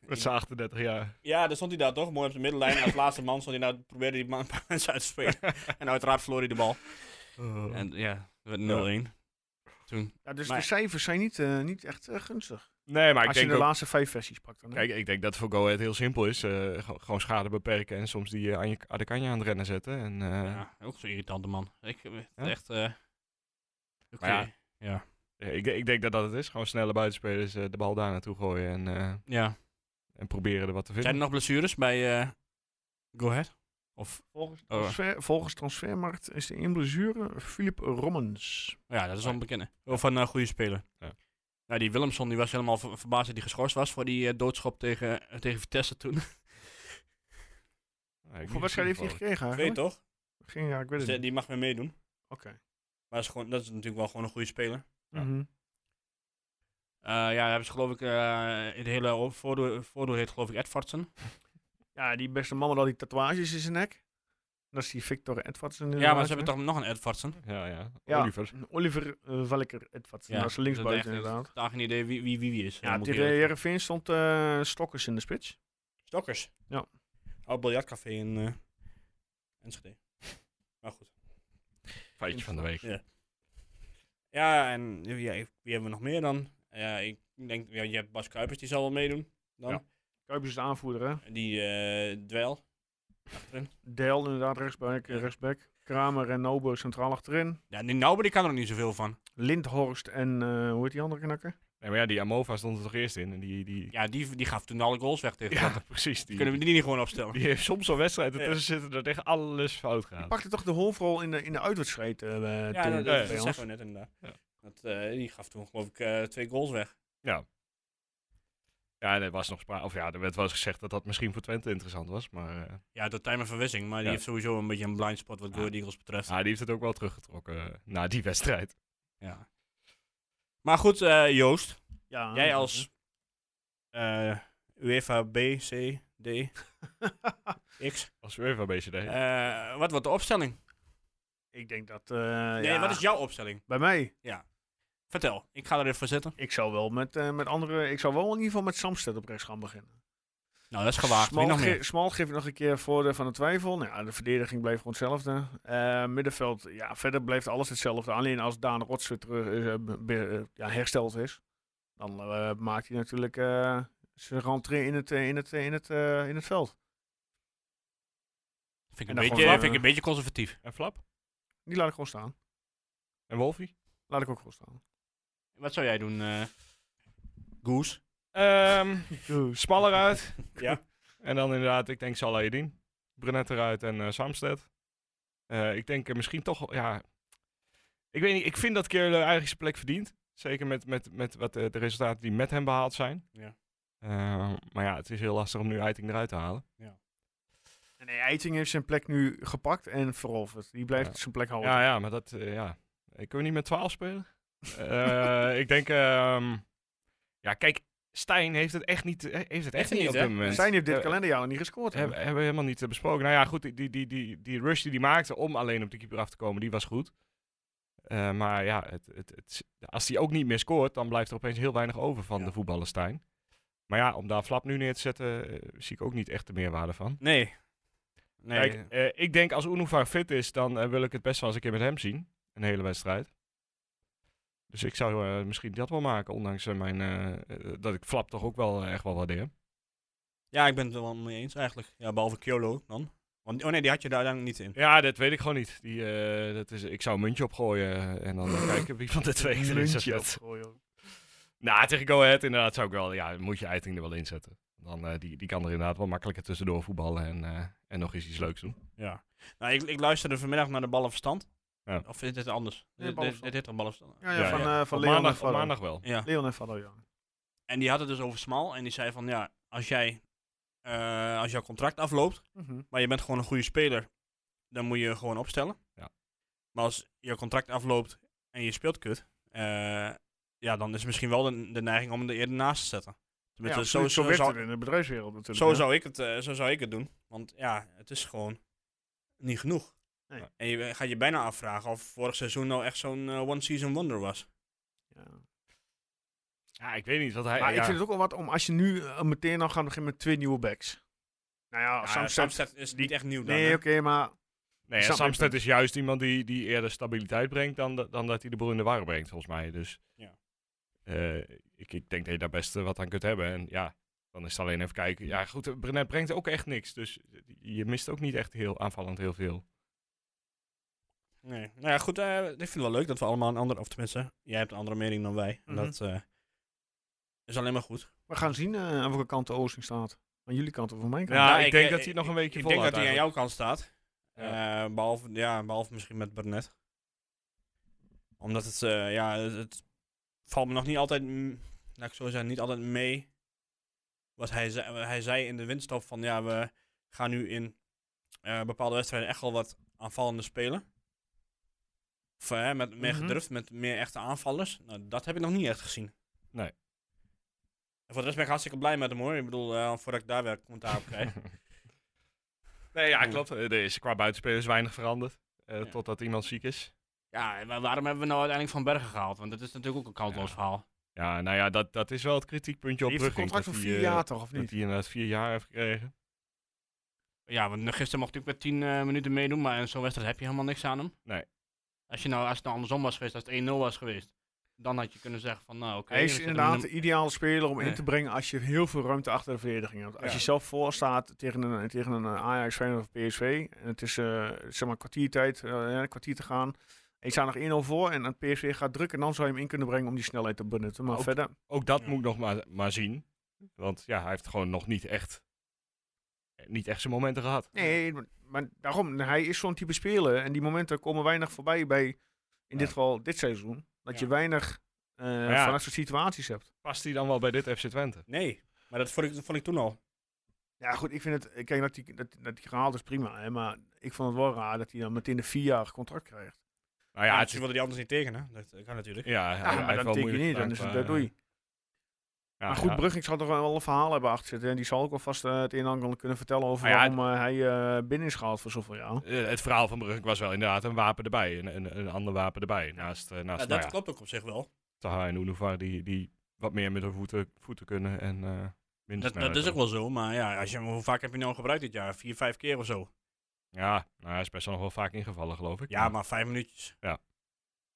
Speaker 4: Met zijn 38 jaar.
Speaker 3: Ja, daar stond hij daar toch, mooi op de middenlijn. Als laatste man stond hij nou, probeerde die man mensen uit te spelen. en uiteraard verloor hij de bal. En ja, het werd 0-1. Toen.
Speaker 1: Ja, dus
Speaker 3: Maar-
Speaker 1: de cijfers zijn niet, eh, niet echt eh, gunstig.
Speaker 4: Nee, maar ik
Speaker 1: Als je
Speaker 4: denk
Speaker 1: de
Speaker 4: ook-
Speaker 1: laatste vijf versies pakt dan. hè?
Speaker 4: Kijk, ik denk dat voor Go Ahead heel simpel is. eh, ge- gewoon schade beperken en soms die eh, aan je Adekanje aan het rennen zetten. En, eh,
Speaker 3: Ja, ook zo'n irritante man. Ik, eh,
Speaker 4: Ja?
Speaker 3: Echt... eh Oké.
Speaker 4: Maar
Speaker 3: ja.
Speaker 4: ik, ik denk dat dat het is. Gewoon snelle buitenspelers eh, de bal daar naartoe gooien en, eh,
Speaker 3: ja.
Speaker 4: en proberen er wat te vinden.
Speaker 3: Zijn er nog blessures bij eh, Go Ahead? Of,
Speaker 1: Volgens,
Speaker 3: Oh, ja.
Speaker 1: transfer, volgens Transfermarkt is de één blessure Philip Rommens.
Speaker 3: ja, dat is wel een bekende. Of een eh, goede speler.
Speaker 4: Ja.
Speaker 3: Nou, die Willemson die was helemaal ver- verbaasd dat hij geschorst was voor die eh, doodschop tegen, eh, tegen Vitesse toen.
Speaker 4: Ah, ik
Speaker 1: Hoeveel
Speaker 4: niet
Speaker 1: wedstrijden heeft hij
Speaker 4: gezien,
Speaker 1: gekregen
Speaker 3: Twee
Speaker 1: eigenlijk?
Speaker 3: toch?
Speaker 1: Geen, ja, ik weet het
Speaker 3: Dus, eh,
Speaker 1: niet.
Speaker 3: die mag weer meedoen.
Speaker 1: Oké.
Speaker 3: Maar dat is, gewoon, dat is natuurlijk wel gewoon een goede speler.
Speaker 4: Ja.
Speaker 1: Mhm.
Speaker 3: Eh, ja, hebben ze geloof ik, eh, in de hele voordoor, voordoor heet geloof ik Edvardsen.
Speaker 1: Ja, die beste man met al die tatoeages in zijn nek. Dat is die Victor Edvardsen.
Speaker 3: Ja, maar ze hebben toch nog een Edvardsen?
Speaker 4: Ja, ja.
Speaker 1: Ja.
Speaker 4: Oliver.
Speaker 3: Mm,
Speaker 1: Oliver eh, Welker Edvardsen.
Speaker 3: Ja,
Speaker 1: dat is linksbuiten
Speaker 3: dat is echt-
Speaker 1: inderdaad.
Speaker 3: Daar geen idee wie wie, wie, wie is.
Speaker 1: Ja,
Speaker 3: eh, moet ik
Speaker 1: tegen
Speaker 3: eerlijk zeggen.
Speaker 1: Heerenveen stond eh Stokkers in de spits.
Speaker 3: Stokkers.
Speaker 1: Ja.
Speaker 3: Oud biljartcafé in eh, Enschede. Maar goed.
Speaker 4: Feitje van de week.
Speaker 3: Ja, en ja, wie hebben we nog meer dan? Ja, ik denk, ja, je hebt Bas Kuipers, die zal wel meedoen. Dan.
Speaker 4: Ja.
Speaker 1: Kuipers is de aanvoerder, hè?
Speaker 3: Die eh dweil.
Speaker 1: Del inderdaad, rechtsback, eh, rechtsback. Kramer en Nobe centraal achterin.
Speaker 3: Ja, die Nauber, die kan er niet zoveel van.
Speaker 1: Lindhorst en, eh, hoe heet die andere knakker?
Speaker 4: Nee, maar ja, die Amova stond er toch eerst in. En die, die,
Speaker 3: Ja, die, die gaf toen alle goals weg tegen.
Speaker 4: ja,
Speaker 3: Twente.
Speaker 4: precies. Die,
Speaker 3: Kunnen we die niet gewoon opstellen?
Speaker 4: die heeft soms zo'n wedstrijd ertussen zitten dat echt alles fout
Speaker 1: Die
Speaker 4: gaat.
Speaker 1: pakte toch de hoofdrol in de, in de uitwedstrijd eh, eh,
Speaker 3: ja,
Speaker 1: toen
Speaker 3: dat,
Speaker 1: bij
Speaker 3: dat, dat
Speaker 1: ons?
Speaker 3: zeggen we net inderdaad.
Speaker 4: Ja.
Speaker 3: Dat, eh, die gaf toen geloof ik eh, twee goals weg.
Speaker 4: Ja, en er was nog sprake. Of ja, er werd wel eens gezegd dat dat misschien voor Twente interessant was. Maar eh,
Speaker 3: Ja, dat time verwissing, maar die
Speaker 4: Ja.
Speaker 3: heeft sowieso een beetje een blind spot wat
Speaker 4: Ja.
Speaker 3: Go Ahead Eagles betreft.
Speaker 4: ah, die heeft het ook wel teruggetrokken eh, na die wedstrijd.
Speaker 3: Ja. Maar goed, eh, Joost,
Speaker 1: Ja,
Speaker 3: jij als eh, UEFA B, C, D, X.
Speaker 4: Als we even een beetje deed.
Speaker 3: Eh, wat wordt de opstelling?
Speaker 1: Ik denk dat... eh,
Speaker 3: Nee,
Speaker 1: ja,
Speaker 3: wat is jouw opstelling?
Speaker 1: Bij mij?
Speaker 3: Vertel, ik ga er even voor zitten.
Speaker 1: Ik zou wel met, eh, met andere... Ik zou wel in ieder geval met Samsted op rechts gaan beginnen.
Speaker 3: Nou, dat is gewaagd. Wie nog
Speaker 1: ge-
Speaker 3: meer?
Speaker 1: Smal geeft nog een keer voordeel van de twijfel. Nou, ja, de verdediging bleef gewoon hetzelfde. Eh, middenveld, ja, verder blijft alles hetzelfde. Alleen als Daan Rots weer terug, eh, be- be- eh, ja, hersteld is, dan eh, maakt hij natuurlijk eh, zijn rentree in het, eh, in het, eh, in het, eh, in het veld. en
Speaker 3: Vind ik, een
Speaker 1: dan
Speaker 3: beetje,
Speaker 1: gewoon
Speaker 3: vind ik
Speaker 1: vlak.
Speaker 3: een beetje conservatief.
Speaker 4: En Flap?
Speaker 1: Die laat ik gewoon staan.
Speaker 4: En Wolfie?
Speaker 1: Laat ik ook gewoon staan.
Speaker 3: Wat zou jij doen, eh Goose?
Speaker 4: Ehm Smal eruit.
Speaker 3: Ja.
Speaker 4: En dan inderdaad, ik denk Salah Edin. Brunet eruit en eh Samsted. Eh, ik denk eh, misschien toch, ja... Ik weet niet, ik vind dat Keerle eigenlijk zijn plek verdient. Zeker met, met, met wat eh, de resultaten die met hem behaald zijn.
Speaker 3: Ja.
Speaker 4: Eh, maar ja, het is heel lastig om nu Eiting eruit te halen.
Speaker 1: En nee, Eiting heeft zijn plek nu gepakt en veroverd. Die blijft
Speaker 4: Ja.
Speaker 1: zijn plek houden.
Speaker 4: Ja, ja, maar dat, eh, ja. Ik kan niet met 12 spelen. Eh, ik denk, ehm, ja, kijk, Stijn heeft het echt niet, eh, heeft het echt
Speaker 3: hij
Speaker 4: niet
Speaker 3: niet,
Speaker 4: op
Speaker 3: hè?
Speaker 4: dit moment.
Speaker 1: Zijn heeft dit
Speaker 4: Eh,
Speaker 1: kalenderjaar nog niet gescoord. hè?
Speaker 4: Hebben, hebben we helemaal niet eh, besproken. Nou ja, goed, die, die, die, die, die rush die hij maakte om alleen op de keeper af te komen, die was goed. Eh, maar ja, het, het, het, als hij ook niet meer scoort, dan blijft er opeens heel weinig over van
Speaker 3: Ja.
Speaker 4: de voetballer Stijn. Maar ja, om daar Flap nu neer te zetten, eh, zie ik ook niet echt de meerwaarde van.
Speaker 3: Nee. Nee.
Speaker 4: Kijk, eh, ik denk als Unuvar fit is, dan eh, wil ik het best wel eens een keer met hem zien. Een hele wedstrijd. Dus ik zou eh, misschien dat wel maken, ondanks eh, mijn, eh, eh, dat ik Flap toch ook wel eh, echt wel waardeer.
Speaker 3: Ja, ik ben het er wel mee eens eigenlijk. Ja, behalve Kyolo dan. Want, oh nee, die had je daar dan niet in.
Speaker 4: Ja, dat weet ik gewoon niet. Die, eh, dat is, ik zou een muntje opgooien en dan eh, kijken wie van de twee erin
Speaker 1: Muntje
Speaker 4: zit.
Speaker 1: opgooien, joh.
Speaker 4: Nou, tegen Go Ahead inderdaad zou ik wel, ja, moet je Eiting er wel in zetten. Dan, eh, die, die kan er inderdaad wel makkelijker tussendoor voetballen en, eh, en nog eens iets leuks doen.
Speaker 3: Ja. Nou, ik, ik luisterde vanmiddag naar de ballenverstand.
Speaker 4: Ja.
Speaker 3: Of is dit anders?
Speaker 1: Nee,
Speaker 3: dit, dit,
Speaker 1: Ballenverstand.
Speaker 3: dit heet toch ballenverstand?
Speaker 1: Ja, ja,
Speaker 4: Ja,
Speaker 1: van,
Speaker 4: ja.
Speaker 1: eh, van
Speaker 4: Op
Speaker 1: Leon
Speaker 4: maandag,
Speaker 1: en
Speaker 4: op
Speaker 1: Vallo.
Speaker 4: maandag wel.
Speaker 3: Ja.
Speaker 1: Leon en Vallo, ja.
Speaker 3: En die had het dus over Smal. En die zei van, ja, als jij, eh, als jouw contract afloopt,
Speaker 1: Mhm.
Speaker 3: maar je bent gewoon een goede speler, dan moet je gewoon opstellen.
Speaker 4: Ja.
Speaker 3: Maar als jouw contract afloopt en je speelt kut, eh, ja, dan is het misschien wel de, de neiging om hem er eerder naast te zetten. Tenminste,
Speaker 1: Ja,
Speaker 3: zo,
Speaker 1: absoluut.
Speaker 3: zo,
Speaker 1: werkt
Speaker 3: zou,
Speaker 1: het in de bedrijfswereld natuurlijk.
Speaker 3: zo,
Speaker 1: hè?
Speaker 3: zou ik het, eh, zo zou ik het doen. Want ja, het is gewoon niet genoeg.
Speaker 1: Nee.
Speaker 3: En je gaat je bijna afvragen of vorig seizoen nou echt zo'n eh, one-season wonder was.
Speaker 1: Ja.
Speaker 4: Ja, ik weet niet. Wat hij,
Speaker 1: Maar
Speaker 4: ja,
Speaker 1: ik vind het ook wel wat om als je nu eh, meteen al gaat beginnen met twee nieuwe backs. Nou ja,
Speaker 3: Ja,
Speaker 1: Samsted-
Speaker 3: Samsted is
Speaker 1: die-
Speaker 3: niet echt nieuw dan.
Speaker 1: Nee,
Speaker 3: hè?
Speaker 1: oké, maar
Speaker 4: nee,
Speaker 1: snap mijn
Speaker 4: Samsted is juist iemand die, die eerder stabiliteit brengt dan, dat- dan dat hij de boel in de war brengt, volgens mij. Dus
Speaker 3: Ja.
Speaker 4: eh, ik, ik denk dat je daar best eh, wat aan kunt hebben. En ja, dan is het alleen even kijken. Ja, goed, eh, Brenet brengt ook echt niks. Dus je mist ook niet echt heel aanvallend heel veel.
Speaker 3: Nee. Nou ja, goed. eh, ik vind het wel leuk dat we allemaal een andere... Of tenminste, jij hebt een andere mening dan wij. En
Speaker 1: Mhm.
Speaker 3: dat eh, is alleen maar goed.
Speaker 1: we gaan zien eh, aan welke kant de Oosting staat. Aan jullie kant of aan mijn kant.
Speaker 4: Ja,
Speaker 3: Nou,
Speaker 4: ik denk
Speaker 3: eh,
Speaker 4: dat hij het nog een weekje
Speaker 3: Ik denk dat
Speaker 4: volhoudt
Speaker 3: hij aan jouw
Speaker 4: eigenlijk.
Speaker 3: kant staat. Eh, behalve, ja, behalve misschien met Barnet. Omdat het... eh, ja, het, het valt me nog niet altijd... mm, laat ik zo zeggen, niet altijd mee. Wat hij, zei- wat hij zei in de winststop van... Ja, we gaan nu in eh, bepaalde wedstrijden echt wel wat aanvallende spelen. Of, eh, met meer
Speaker 1: Mhm.
Speaker 4: Mhm.
Speaker 3: gedurfd, met meer echte aanvallers. Nou, dat heb ik nog niet echt gezien.
Speaker 4: Nee.
Speaker 3: Voor de rest ben ik hartstikke blij met hem hoor. Ik bedoel, eh, voordat ik daar weer commentaar op krijg.
Speaker 4: Nee, ja, klopt. Eh, Er is qua buitenspelers weinig veranderd. eh,
Speaker 3: Ja.
Speaker 4: Totdat iemand ziek is.
Speaker 3: ja, en wa- waarom hebben we nou uiteindelijk Van Bergen gehaald? Want dat is natuurlijk ook een koudloos
Speaker 4: Ja.
Speaker 3: verhaal.
Speaker 4: Ja, nou ja, dat, dat is wel het kritiekpuntje op
Speaker 1: heeft een
Speaker 4: Brugging.
Speaker 1: contract van
Speaker 4: dat
Speaker 1: vier
Speaker 4: die, eh,
Speaker 1: jaar toch, of
Speaker 4: Dat
Speaker 1: niet?
Speaker 4: hij inderdaad vier jaar heeft gekregen.
Speaker 3: Ja, want gisteren mocht ik met 10 eh, minuten meedoen, maar in zo'n wedstrijd heb je helemaal niks aan hem.
Speaker 4: Nee.
Speaker 3: Als, je nou, als het nou andersom was geweest, als het 1-0 was geweest, dan had je kunnen zeggen van nou oké.
Speaker 1: Hij
Speaker 3: we
Speaker 1: is
Speaker 3: zetten
Speaker 1: inderdaad de
Speaker 3: hem
Speaker 1: ideale speler om
Speaker 3: Nee.
Speaker 1: in te brengen als je heel veel ruimte achter de verdediging hebt. Als
Speaker 3: Ja.
Speaker 1: je zelf voor staat tegen een, tegen een Ajax, Feyenoord of PSV, en het is eh, zeg maar kwartiertijd, eh, ja, een kwartier te gaan, en je staat nog 1-0 voor en het PSV gaat drukken, dan zou je hem in kunnen brengen om die snelheid te benutten. Maar
Speaker 4: Ook-
Speaker 1: verder,
Speaker 4: Ook dat
Speaker 3: Ja.
Speaker 4: moet ik nog maar, maar zien. Want ja, hij heeft gewoon nog niet echt, eh, niet echt zijn momenten gehad.
Speaker 1: nee, maar- maar daarom, hij is zo'n type speler en die momenten komen weinig voorbij bij, in dit geval dit seizoen, dat
Speaker 3: Ja.
Speaker 1: je weinig eh
Speaker 4: ja.
Speaker 1: van dat soort situaties hebt.
Speaker 4: Past hij dan wel bij dit FC Twente?
Speaker 3: Nee, maar dat vond ik, dat vond ik toen al.
Speaker 1: Ja, goed, ik vind het. Kijk, dat die, dat, dat die gehaald is prima. Hè, maar ik vond het wel raar dat hij dan meteen een vierjarig contract krijgt.
Speaker 4: Nou
Speaker 3: Ja,
Speaker 4: ja,
Speaker 3: ja
Speaker 4: het
Speaker 3: ze
Speaker 4: is,
Speaker 3: wilden die anders niet tekenen. Dat eh, kan natuurlijk.
Speaker 4: ja, hij-
Speaker 1: Ja,
Speaker 4: hij heeft
Speaker 1: maar
Speaker 4: wel
Speaker 1: dan teken je
Speaker 4: moeilijk
Speaker 1: niet. Dan is
Speaker 4: gedaan
Speaker 1: het
Speaker 4: qua,
Speaker 1: eh, doei.
Speaker 4: ja,
Speaker 1: maar goed,
Speaker 4: ja.
Speaker 1: Brugging zal toch wel een verhaal hebben achter zitten. En die zal ook wel vast eh, het een en ander kunnen vertellen over
Speaker 4: Ah ja,
Speaker 1: waarom eh, hij eh, binnen is gehaald voor zoveel jaar. Nou
Speaker 4: Eh, het verhaal van Brugge was wel inderdaad een wapen erbij. Een, een, een ander wapen erbij. Naast, eh, naast
Speaker 3: Ja,
Speaker 4: ja,
Speaker 3: dat
Speaker 4: nou ja,
Speaker 3: klopt ook op zich wel.
Speaker 4: Taha en Unuvar die, die wat meer met hun voeten, voeten kunnen. En eh minder
Speaker 3: Dat, dat is ook
Speaker 4: snelheid
Speaker 3: wel zo, maar ja, als je, hem- hoe vaak heb je nou gebruikt dit jaar? Vier, vijf keer of zo.
Speaker 4: hebben. Ja, nou, hij is best wel nog wel vaak ingevallen, geloof ik.
Speaker 3: Ja, Dus maar vijf minuutjes.
Speaker 4: Ja,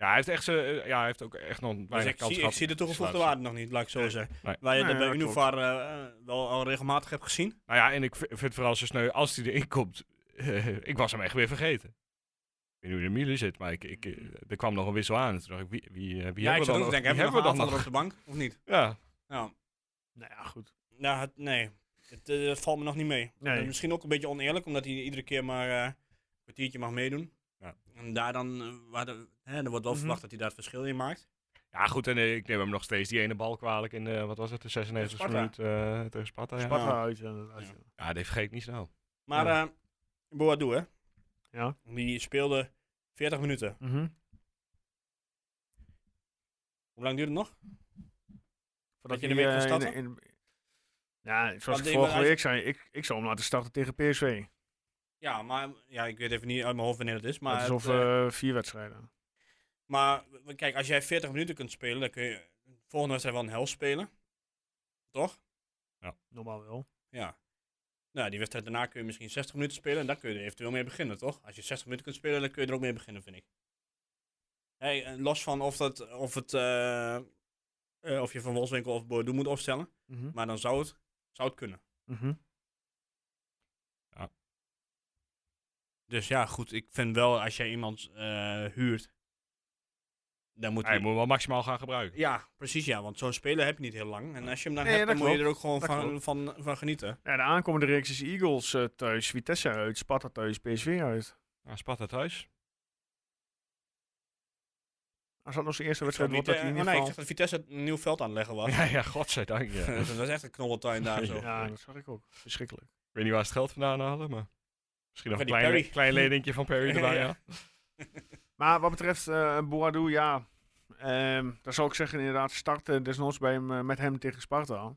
Speaker 4: hij heeft, echt zijn- eh, ja, hij heeft ook echt nog
Speaker 3: Dus
Speaker 4: weinig
Speaker 3: ik,
Speaker 4: kans
Speaker 3: zie,
Speaker 4: gehad.
Speaker 3: ik zie de toegevoegde
Speaker 4: te
Speaker 3: waarde nog niet, laat ik zo zeggen.
Speaker 4: Nee.
Speaker 3: Waar je
Speaker 1: Nee,
Speaker 3: dat bij
Speaker 1: dat klopt.
Speaker 3: Univar eh, eh, wel al regelmatig hebt gezien.
Speaker 4: Nou ja, en ik v- vind het vooral zo sneu, als hij erin komt, ik was hem echt weer vergeten. Ik weet niet hoe de Miele zit, maar ik, ik, eh, er kwam nog een wissel aan. En Toen dacht ik, wie, wie, eh, wie
Speaker 3: ja, ik
Speaker 4: hebben we
Speaker 3: zou
Speaker 4: dan
Speaker 3: ook
Speaker 4: nog?
Speaker 3: denken,
Speaker 4: Wie
Speaker 3: hebben we dan
Speaker 4: dan
Speaker 3: nog op de bank? Of niet?
Speaker 4: Ja,
Speaker 3: Nou,
Speaker 1: Nou ja, goed.
Speaker 3: nou het- nee. Het, eh, dat valt me nog niet mee.
Speaker 1: Nee.
Speaker 3: Dat is misschien ook een beetje oneerlijk, omdat hij iedere keer maar eh, een kwartiertje mag meedoen.
Speaker 4: Ja.
Speaker 3: En daar dan, eh, waar de, hè, er wordt wel
Speaker 1: Mhm.
Speaker 3: verwacht dat hij daar het verschil in maakt.
Speaker 4: Ja, goed, en eh, ik neem hem nog steeds die ene bal kwalijk in de, wat was het, de 96
Speaker 3: Tegen
Speaker 4: minuut eh, tegen Sparta. Ja,
Speaker 1: Sparta
Speaker 3: Ja.
Speaker 1: uit. inderdaad,
Speaker 3: Ja.
Speaker 1: ja.
Speaker 4: ja die vergeet ik niet snel.
Speaker 3: Maar eh Boadu, hè?
Speaker 1: Ja.
Speaker 3: Die speelde 40 minuten.
Speaker 1: Mhm.
Speaker 3: Hoe lang duurde het nog?
Speaker 1: Voordat
Speaker 3: je
Speaker 1: hij,
Speaker 3: ermee kan
Speaker 1: eh, in-
Speaker 3: starten?
Speaker 1: in- Ja, zoals
Speaker 3: Want
Speaker 1: ik
Speaker 3: ik
Speaker 1: vorige
Speaker 3: ben-
Speaker 1: week zei, ik, ik zou hem laten starten tegen PSV.
Speaker 3: Ja, maar ja, ik weet even niet uit mijn hoofd wanneer het is. Maar,
Speaker 1: Maar
Speaker 3: het,
Speaker 1: alsof
Speaker 3: eh,
Speaker 1: eh vier wedstrijden.
Speaker 3: maar w- kijk, als jij 40 minuten kunt spelen, dan kun je volgende wedstrijd wel een helft spelen. Toch?
Speaker 1: Normaal wel.
Speaker 3: Ja. Nou, die wedstrijd daarna kun je misschien 60 minuten spelen en daar kun je er eventueel mee beginnen, toch? Als je 60 minuten kunt spelen, dan kun je er ook mee beginnen, vind ik. Hey, en los van of, dat, of, het, eh, eh, of je Van Wolfswinkel of Bordeaux moet opstellen,
Speaker 1: Mhm.
Speaker 3: maar dan zou het, zou het kunnen.
Speaker 1: Mhm.
Speaker 3: Dus ja, goed, ik vind wel, als jij iemand eh, huurt, dan moet
Speaker 4: Hij moet hem wel maximaal gaan gebruiken.
Speaker 3: Ja, precies ja, want zo'n speler heb je niet heel lang. En als je hem dan
Speaker 1: Nee,
Speaker 3: hebt, dan
Speaker 1: dat
Speaker 3: moet je er ook gewoon
Speaker 1: Dat
Speaker 3: van,
Speaker 1: klopt.
Speaker 3: van, van genieten.
Speaker 1: Ja, de aankomende reeks is Eagles eh, thuis, Vitesse uit, Sparta thuis, PSV uit.
Speaker 4: Nou, Sparta thuis.
Speaker 1: Als dat nog zijn eerste
Speaker 3: Ik
Speaker 1: wedstrijd
Speaker 3: zou
Speaker 1: wordt,
Speaker 3: niet,
Speaker 1: dat
Speaker 3: eh,
Speaker 1: hij in
Speaker 3: oh
Speaker 1: ieder
Speaker 3: nee,
Speaker 1: geval...
Speaker 3: ik dacht dat Vitesse het een nieuw veld aan het leggen was.
Speaker 4: Ja, ja, godzijdank. Ja.
Speaker 3: dat was echt een knobbeltuin daar zo.
Speaker 1: Ja, dat zag ik ook. Verschrikkelijk.
Speaker 4: Ik weet niet waar ze het geld vandaan halen, maar misschien nog
Speaker 3: Van
Speaker 4: een
Speaker 3: die
Speaker 4: klein,
Speaker 3: Perry.
Speaker 4: klein leningje van Perry erbij.
Speaker 3: Ja.
Speaker 4: ja.
Speaker 1: Maar wat betreft eh Boadou, ja, ehm dan zou ik zeggen inderdaad starten desnoods bij hem, eh, met hem tegen Sparta.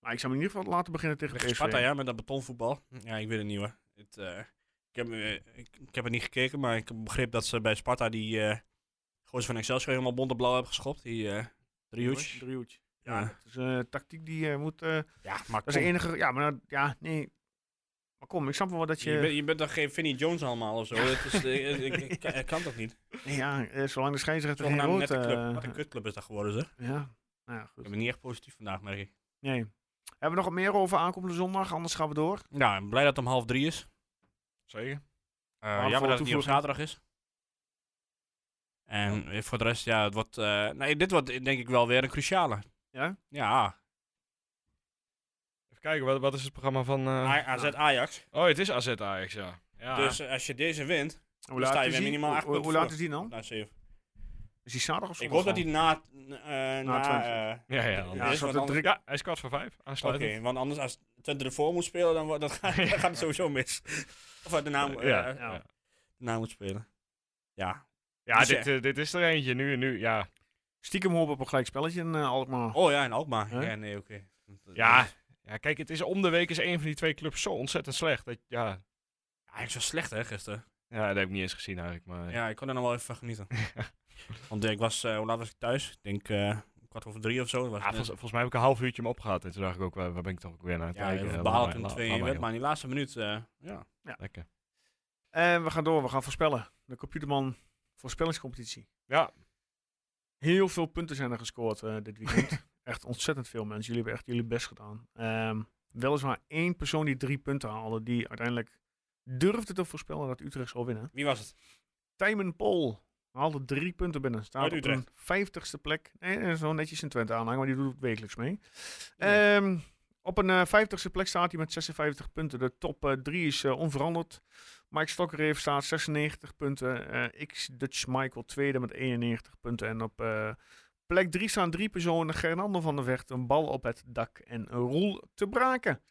Speaker 1: Maar ik zou hem in ieder geval laten beginnen tegen
Speaker 3: Tegen
Speaker 1: PSV.
Speaker 3: Sparta, ja, met dat betonvoetbal. Ja, ik weet het niet hoor. Het, eh, ik, heb, eh, ik, ik heb het niet gekeken, maar ik begreep dat ze bij Sparta die eh gozer van Excelsior helemaal bont en blauw hebben geschopt. Die eh Drioch.
Speaker 1: Driehoek. Ja,
Speaker 3: Ja,
Speaker 1: dat is een tactiek die eh, moet... eh,
Speaker 3: ja, maar
Speaker 1: dat is de
Speaker 3: kom.
Speaker 1: enige... Ja, maar nou, ja, nee. Maar kom, ik snap wel wat dat
Speaker 3: Je,
Speaker 1: je...
Speaker 3: bent, je bent dan geen Vinnie Jones allemaal of zo. Het is, eh, ik, ik- ik- ik kan toch niet?
Speaker 1: Nee, ja, eh, zolang de scheidsrechter geen
Speaker 3: Zogenaamd
Speaker 1: rood...
Speaker 3: nette club.
Speaker 1: eh,
Speaker 3: Wat een kutclub is dat geworden zeg.
Speaker 1: ja, nou ja,
Speaker 3: Ik
Speaker 1: goed.
Speaker 3: ben niet echt positief vandaag, merk ik.
Speaker 1: Nee. Hebben we nog wat meer over aankomende zondag? Anders gaan we door.
Speaker 3: Ja, ik ben blij dat het om half drie is.
Speaker 4: Zeker.
Speaker 3: Ja,
Speaker 1: voor
Speaker 3: Eh, jammer dat het niet op
Speaker 1: toevoeging.
Speaker 3: zaterdag is. En eh, voor de rest, ja, het wordt... eh, nee, dit wordt eh, denk ik wel weer een cruciale.
Speaker 1: Ja?
Speaker 3: Ja.
Speaker 4: Even kijken, wat, wat is het programma van... eh,
Speaker 3: AZ Ajax.
Speaker 4: Oh, het is AZ Ajax, ja. ja.
Speaker 3: Dus eh, als je deze wint,
Speaker 1: Hoe
Speaker 3: sta je
Speaker 1: is
Speaker 3: weer
Speaker 1: die?
Speaker 3: minimaal acht
Speaker 1: Hoe, hoe, hoe
Speaker 3: punten
Speaker 1: laat
Speaker 3: voor.
Speaker 1: is die dan?
Speaker 3: nou, zeven.
Speaker 1: Is die zaterdag of
Speaker 3: Ik
Speaker 1: zondag?
Speaker 3: hoop dat hij
Speaker 1: al?
Speaker 3: na... n- eh, na
Speaker 1: Twente.
Speaker 3: eh,
Speaker 4: ja, ja,
Speaker 3: Ja,
Speaker 4: anders-
Speaker 1: Ja,
Speaker 3: is
Speaker 1: zo
Speaker 3: wat
Speaker 1: de
Speaker 3: anders.
Speaker 1: druk-
Speaker 4: ja, hij is kwart voor vijf.
Speaker 3: Oké,
Speaker 4: Aansluitend.
Speaker 3: want anders als Twente ervoor moet spelen, dan, wordt- dan gaat dan gaat het sowieso mis. Of uit de naam, eh,
Speaker 4: ja,
Speaker 3: eh,
Speaker 4: ja.
Speaker 1: ja.
Speaker 3: de naam moet spelen. Ja.
Speaker 4: Ja,
Speaker 3: Dus
Speaker 4: dit, eh, dit is er eentje. Nu, nu, ja.
Speaker 1: Stiekem hopen op een gelijk spelletje in eh, Alkmaar.
Speaker 3: Oh ja, in Alkmaar.
Speaker 1: Huh?
Speaker 3: Ja, nee, oké.
Speaker 4: Ja. ja, kijk, het is om de week is een van die twee clubs zo ontzettend slecht. Dat, ja,
Speaker 3: Eigenlijk zo slecht, hè, gisteren.
Speaker 4: ja, dat heb ik niet eens gezien eigenlijk. Maar,
Speaker 3: Ja, ik kon er nog wel even van genieten. Want eh, ik was, eh, hoe laat was ik thuis? Ik denk eh, kwart over drie of zo. Dat Was
Speaker 4: Ja, volgens, volgens mij heb ik een half uurtje hem opgehaald. En toen dacht ik ook, waar, waar ben ik toch ook weer naar aan het
Speaker 3: ja,
Speaker 4: kijken?
Speaker 3: heel veel
Speaker 4: Laat
Speaker 3: behaald
Speaker 4: maar-
Speaker 3: in
Speaker 4: laat-
Speaker 3: twee
Speaker 4: laat
Speaker 3: uur,
Speaker 4: maar,
Speaker 3: maar in die laatste minuut, eh, ja.
Speaker 4: joh. Lekker.
Speaker 1: En we gaan door, we gaan voorspellen. De Computerman voorspellingscompetitie.
Speaker 4: Ja,
Speaker 1: Heel veel punten zijn er gescoord eh, dit weekend. echt ontzettend veel mensen. Jullie hebben echt jullie best gedaan. Ehm, weliswaar één persoon die drie punten haalde, die uiteindelijk durfde te voorspellen dat Utrecht zou winnen.
Speaker 3: Wie was het?
Speaker 1: Tijmen Pol haalde drie punten binnen. Staat
Speaker 3: Uit
Speaker 1: op een
Speaker 3: Utrecht.
Speaker 1: vijftigste plek. Nee, dat is wel netjes in Twente aanhangen, maar die doet het wekelijks mee.
Speaker 3: Ja.
Speaker 1: Ehm, op een eh, vijftigste plek staat hij met 56 punten. De top eh, drie is eh, onveranderd. Mike Stokkerheef staat 96 punten. Eh, X Dutch Michael tweede met 91 punten. En op eh, plek drie staan drie personen. Gernando van der Vecht, een bal op het dak en een roel te braken.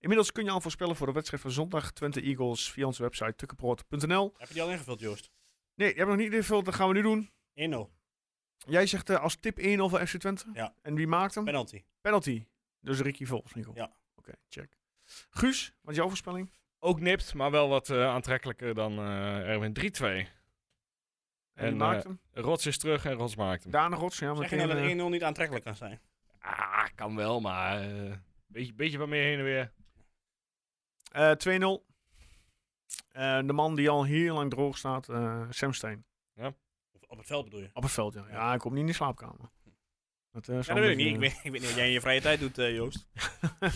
Speaker 1: Inmiddels kun je al voorspellen voor de wedstrijd van zondag Twente Eagles via onze website tukkenproot.nl.
Speaker 3: Heb je die al ingevuld, Joost? 1-0.
Speaker 1: Nee, je hebt nog niet ingevuld. Dat gaan we nu doen. Jij zegt eh, als tip 1-0 voor FC Twente.
Speaker 3: Ja.
Speaker 1: En wie maakt hem?
Speaker 3: Hm. Penalty.
Speaker 1: Penalty. Dus Ricky Volks, Nico.
Speaker 3: Ja.
Speaker 1: Oké, check. Guus, wat is jouw voorspelling?
Speaker 4: ook nipt, maar wel wat eh, aantrekkelijker dan eh, Erwin 3-2.
Speaker 1: En, wie
Speaker 4: En,
Speaker 1: maakt
Speaker 4: eh,
Speaker 1: hem?
Speaker 4: Rots is terug en Rots maakt hem.
Speaker 1: Daan Rots, ja,
Speaker 3: Zeg
Speaker 1: meteen.
Speaker 3: je nou
Speaker 1: eh,
Speaker 3: dat 1-0 niet aantrekkelijk kan zijn?
Speaker 4: Ah, kan wel, maar... eh, beetje, beetje wat meer heen en weer.
Speaker 1: eh, 2-0. Eh, de man die al heel lang droog staat, eh Sam Stein.
Speaker 3: Of op het veld bedoel je?
Speaker 1: Op het veld, ja. Ja, hij komt niet in de slaapkamer. Dat, eh,
Speaker 3: Ja,
Speaker 1: zal
Speaker 3: dat weet
Speaker 1: een
Speaker 3: ik niet. Ik
Speaker 1: beetje-
Speaker 3: weet, ik weet niet wat jij in je vrije tijd doet, eh, Joost.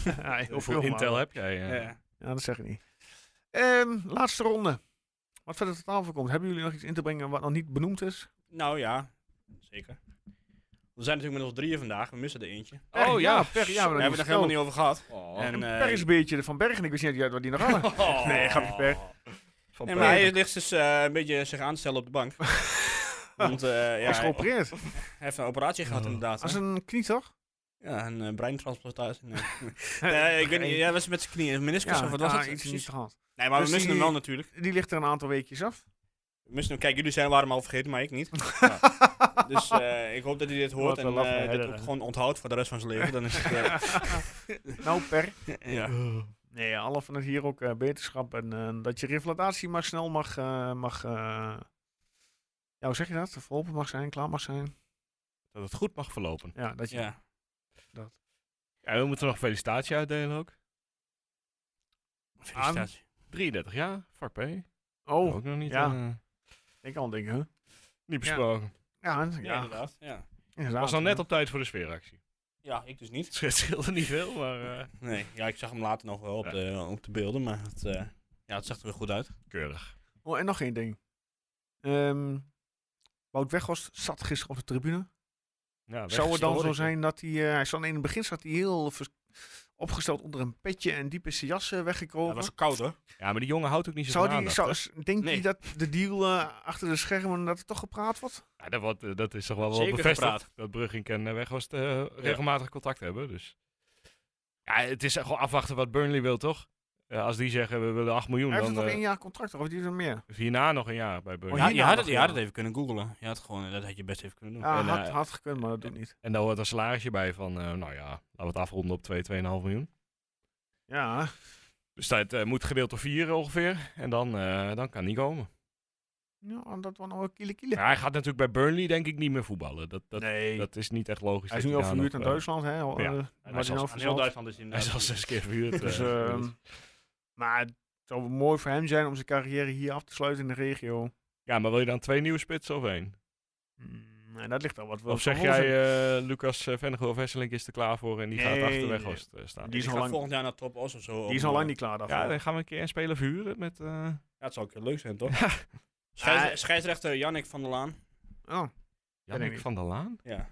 Speaker 1: ja, heel
Speaker 4: Hoeveel
Speaker 1: maar-
Speaker 4: intel heb jij? eh?
Speaker 3: Ja.
Speaker 1: Ja, dat zeg ik niet. Ehm, laatste ronde. Wat verder tot tafel komt. Hebben jullie nog iets in te brengen wat nog niet benoemd is?
Speaker 3: Nou ja, zeker. We zijn natuurlijk met ons drieën vandaag. We missen er eentje.
Speaker 1: Per,
Speaker 4: Oh
Speaker 1: ja,
Speaker 4: ja,
Speaker 1: per, ja,
Speaker 4: zo,
Speaker 1: we
Speaker 3: Daar hebben we het nog helemaal niet over gehad.
Speaker 4: Oh,
Speaker 3: En, eh,
Speaker 1: Per is een beetje van Bergen. Ik wist niet uit wat die nog hadden.
Speaker 3: Oh.
Speaker 1: Nee, grapje, Per.
Speaker 4: van
Speaker 3: Nee,
Speaker 4: Peter.
Speaker 3: maar hij ligt dus eh, een beetje zich aan te stellen op de bank. Want eh, ja,
Speaker 1: Hij is
Speaker 3: hij
Speaker 1: geopereerd.
Speaker 3: heeft een operatie gehad inderdaad. hè.
Speaker 1: Als een knie, toch?
Speaker 3: Ja, een eh, breintransplantatie. Nee, Nee, ik weet niet. Ja, was met zijn knieën. Meniscus of wat was
Speaker 1: ah,
Speaker 3: het?
Speaker 1: iets
Speaker 3: Precies.
Speaker 1: niet gehad.
Speaker 3: Nee, maar
Speaker 1: Dus
Speaker 3: we missen
Speaker 1: die-
Speaker 3: hem wel natuurlijk.
Speaker 1: Die ligt er een aantal weekjes af.
Speaker 3: We missen hem. Kijk, jullie zijn waren hem al vergeten, maar ik niet. Dus eh, ik hoop dat hij dit hoort
Speaker 1: Wordt
Speaker 3: en
Speaker 1: wel laf,
Speaker 3: eh,
Speaker 1: hè,
Speaker 3: dit
Speaker 1: dat,
Speaker 3: ook
Speaker 1: hè.
Speaker 3: gewoon onthoudt voor de rest van zijn leven. Dan is het... eh,
Speaker 1: nou, per.
Speaker 3: ja.
Speaker 1: Nee, alle van het hier ook eh, beterschap. En eh, dat je revalidatie maar snel mag... eh, mag eh, ja, hoe zeg je dat? Verholpen mag zijn, klaar mag zijn.
Speaker 4: Dat het goed mag verlopen.
Speaker 1: Ja, dat je...
Speaker 3: ja.
Speaker 4: Ja, we moeten nog felicitatie uitdelen ook.
Speaker 3: Felicitaties.
Speaker 4: 33 jaar, vak P.
Speaker 1: Oh,
Speaker 4: ook nog niet,
Speaker 1: ja.
Speaker 4: eh,
Speaker 1: ik al dingen, hè?
Speaker 4: niet besproken.
Speaker 1: Ja, en-
Speaker 3: Ja,
Speaker 1: ja,
Speaker 3: inderdaad. Ja.
Speaker 1: inderdaad.
Speaker 4: Was dan net op tijd voor de sfeeractie.
Speaker 3: ja, ik dus niet.
Speaker 4: Het scheelde niet veel, maar eh,
Speaker 3: Nee, ja, ik zag hem later nog wel op,
Speaker 4: Ja.
Speaker 3: de, op de beelden, maar het, eh, ja, het zag er weer goed uit.
Speaker 4: keurig.
Speaker 1: Oh, en nog één ding. Ehm Wout Weghorst zat gisteren op de tribune.
Speaker 4: Ja,
Speaker 1: Zou het dan zo
Speaker 4: weggestoord.
Speaker 1: zijn dat hij... eh, hij zat in het begin zat hij heel vers- opgesteld onder een petje en diep is zijn jas eh,
Speaker 3: Ja,
Speaker 1: weggekropen.
Speaker 3: het was ook koud hoor.
Speaker 4: Ja, maar die jongen houdt ook niet zo
Speaker 1: zou
Speaker 4: van
Speaker 1: die,
Speaker 4: aandacht,
Speaker 1: zou,
Speaker 4: hè?
Speaker 1: s- denkt hij
Speaker 3: Nee.
Speaker 1: dat de deal eh, achter de schermen dat er toch gepraat wordt?
Speaker 4: Ja, dat, wordt, eh, dat is toch wel, wel
Speaker 3: Zeker
Speaker 4: bevestigd.
Speaker 3: gepraat.
Speaker 4: Dat Brugging en eh, Weghorst eh, regelmatig contact hebben. Dus. Ja, het is echt gewoon afwachten wat Burnley wil, toch? Eh, als die zeggen we willen 8 miljoen,
Speaker 1: Hij heeft
Speaker 4: dan
Speaker 1: nog
Speaker 4: eh,
Speaker 1: één jaar contract, of heeft hij er meer?
Speaker 4: hierna nog een jaar bij
Speaker 1: Oh,
Speaker 4: Burnley.
Speaker 3: Ja, je, had
Speaker 1: nog,
Speaker 3: het, je
Speaker 1: ja.
Speaker 3: had het even kunnen googlen. Je had gewoon, dat had je best even kunnen doen.
Speaker 1: Ja,
Speaker 4: en,
Speaker 1: Ah, had,
Speaker 4: eh,
Speaker 1: had gekund, maar dat doet niet.
Speaker 4: En daar hoort een salarisje bij van, eh, nou ja, laten we het afronden op 2, 2,5 miljoen.
Speaker 1: Ja,
Speaker 4: Dus dat eh, moet gedeeld door 4 ongeveer. En dan, eh, dan kan die komen.
Speaker 1: ja dat was nog wel kiele kiele.
Speaker 4: Maar hij gaat natuurlijk bij Burnley denk ik niet meer voetballen. Dat, dat,
Speaker 1: nee,
Speaker 4: dat is niet echt logisch.
Speaker 1: hij is
Speaker 4: dat
Speaker 1: nu al
Speaker 4: daar
Speaker 1: verhuurd
Speaker 4: nog,
Speaker 1: naar
Speaker 4: eh,
Speaker 1: Duitsland, hè? al,
Speaker 4: ja.
Speaker 1: eh,
Speaker 3: Aan
Speaker 1: wat hij nou
Speaker 3: heel
Speaker 1: verhuurd.
Speaker 3: Duitsland is
Speaker 4: Hij is al
Speaker 3: inderdaad.
Speaker 4: zes keer verhuurd.
Speaker 1: Dus,
Speaker 4: eh,
Speaker 1: ehm, maar het zou mooi voor hem zijn om zijn carrière hier af te sluiten in de regio.
Speaker 4: ja, maar wil je dan twee nieuwe spitsen of één?
Speaker 1: Mm, en dat ligt al wat.
Speaker 4: Of zeg jij, eh, Lucas eh, Vennegoor of Hesselink is er klaar voor en die
Speaker 1: Nee,
Speaker 4: gaat achter
Speaker 1: nee.
Speaker 4: Weghorst eh, staan?
Speaker 1: Die is
Speaker 3: Die
Speaker 1: al
Speaker 3: gaat
Speaker 1: lang-
Speaker 3: volgend jaar naar Top Os of zo.
Speaker 1: die is al lang niet klaar daarvoor.
Speaker 4: eh, ja, dan gaan we een keer een speler verhuren met... eh,
Speaker 3: Ja, het zou ook heel leuk zijn, toch? Scheids-
Speaker 1: Ah.
Speaker 3: scheidsrechter Jannik van der Laan.
Speaker 1: Oh.
Speaker 4: Jannik
Speaker 1: niet.
Speaker 4: van der Laan?
Speaker 3: Ja.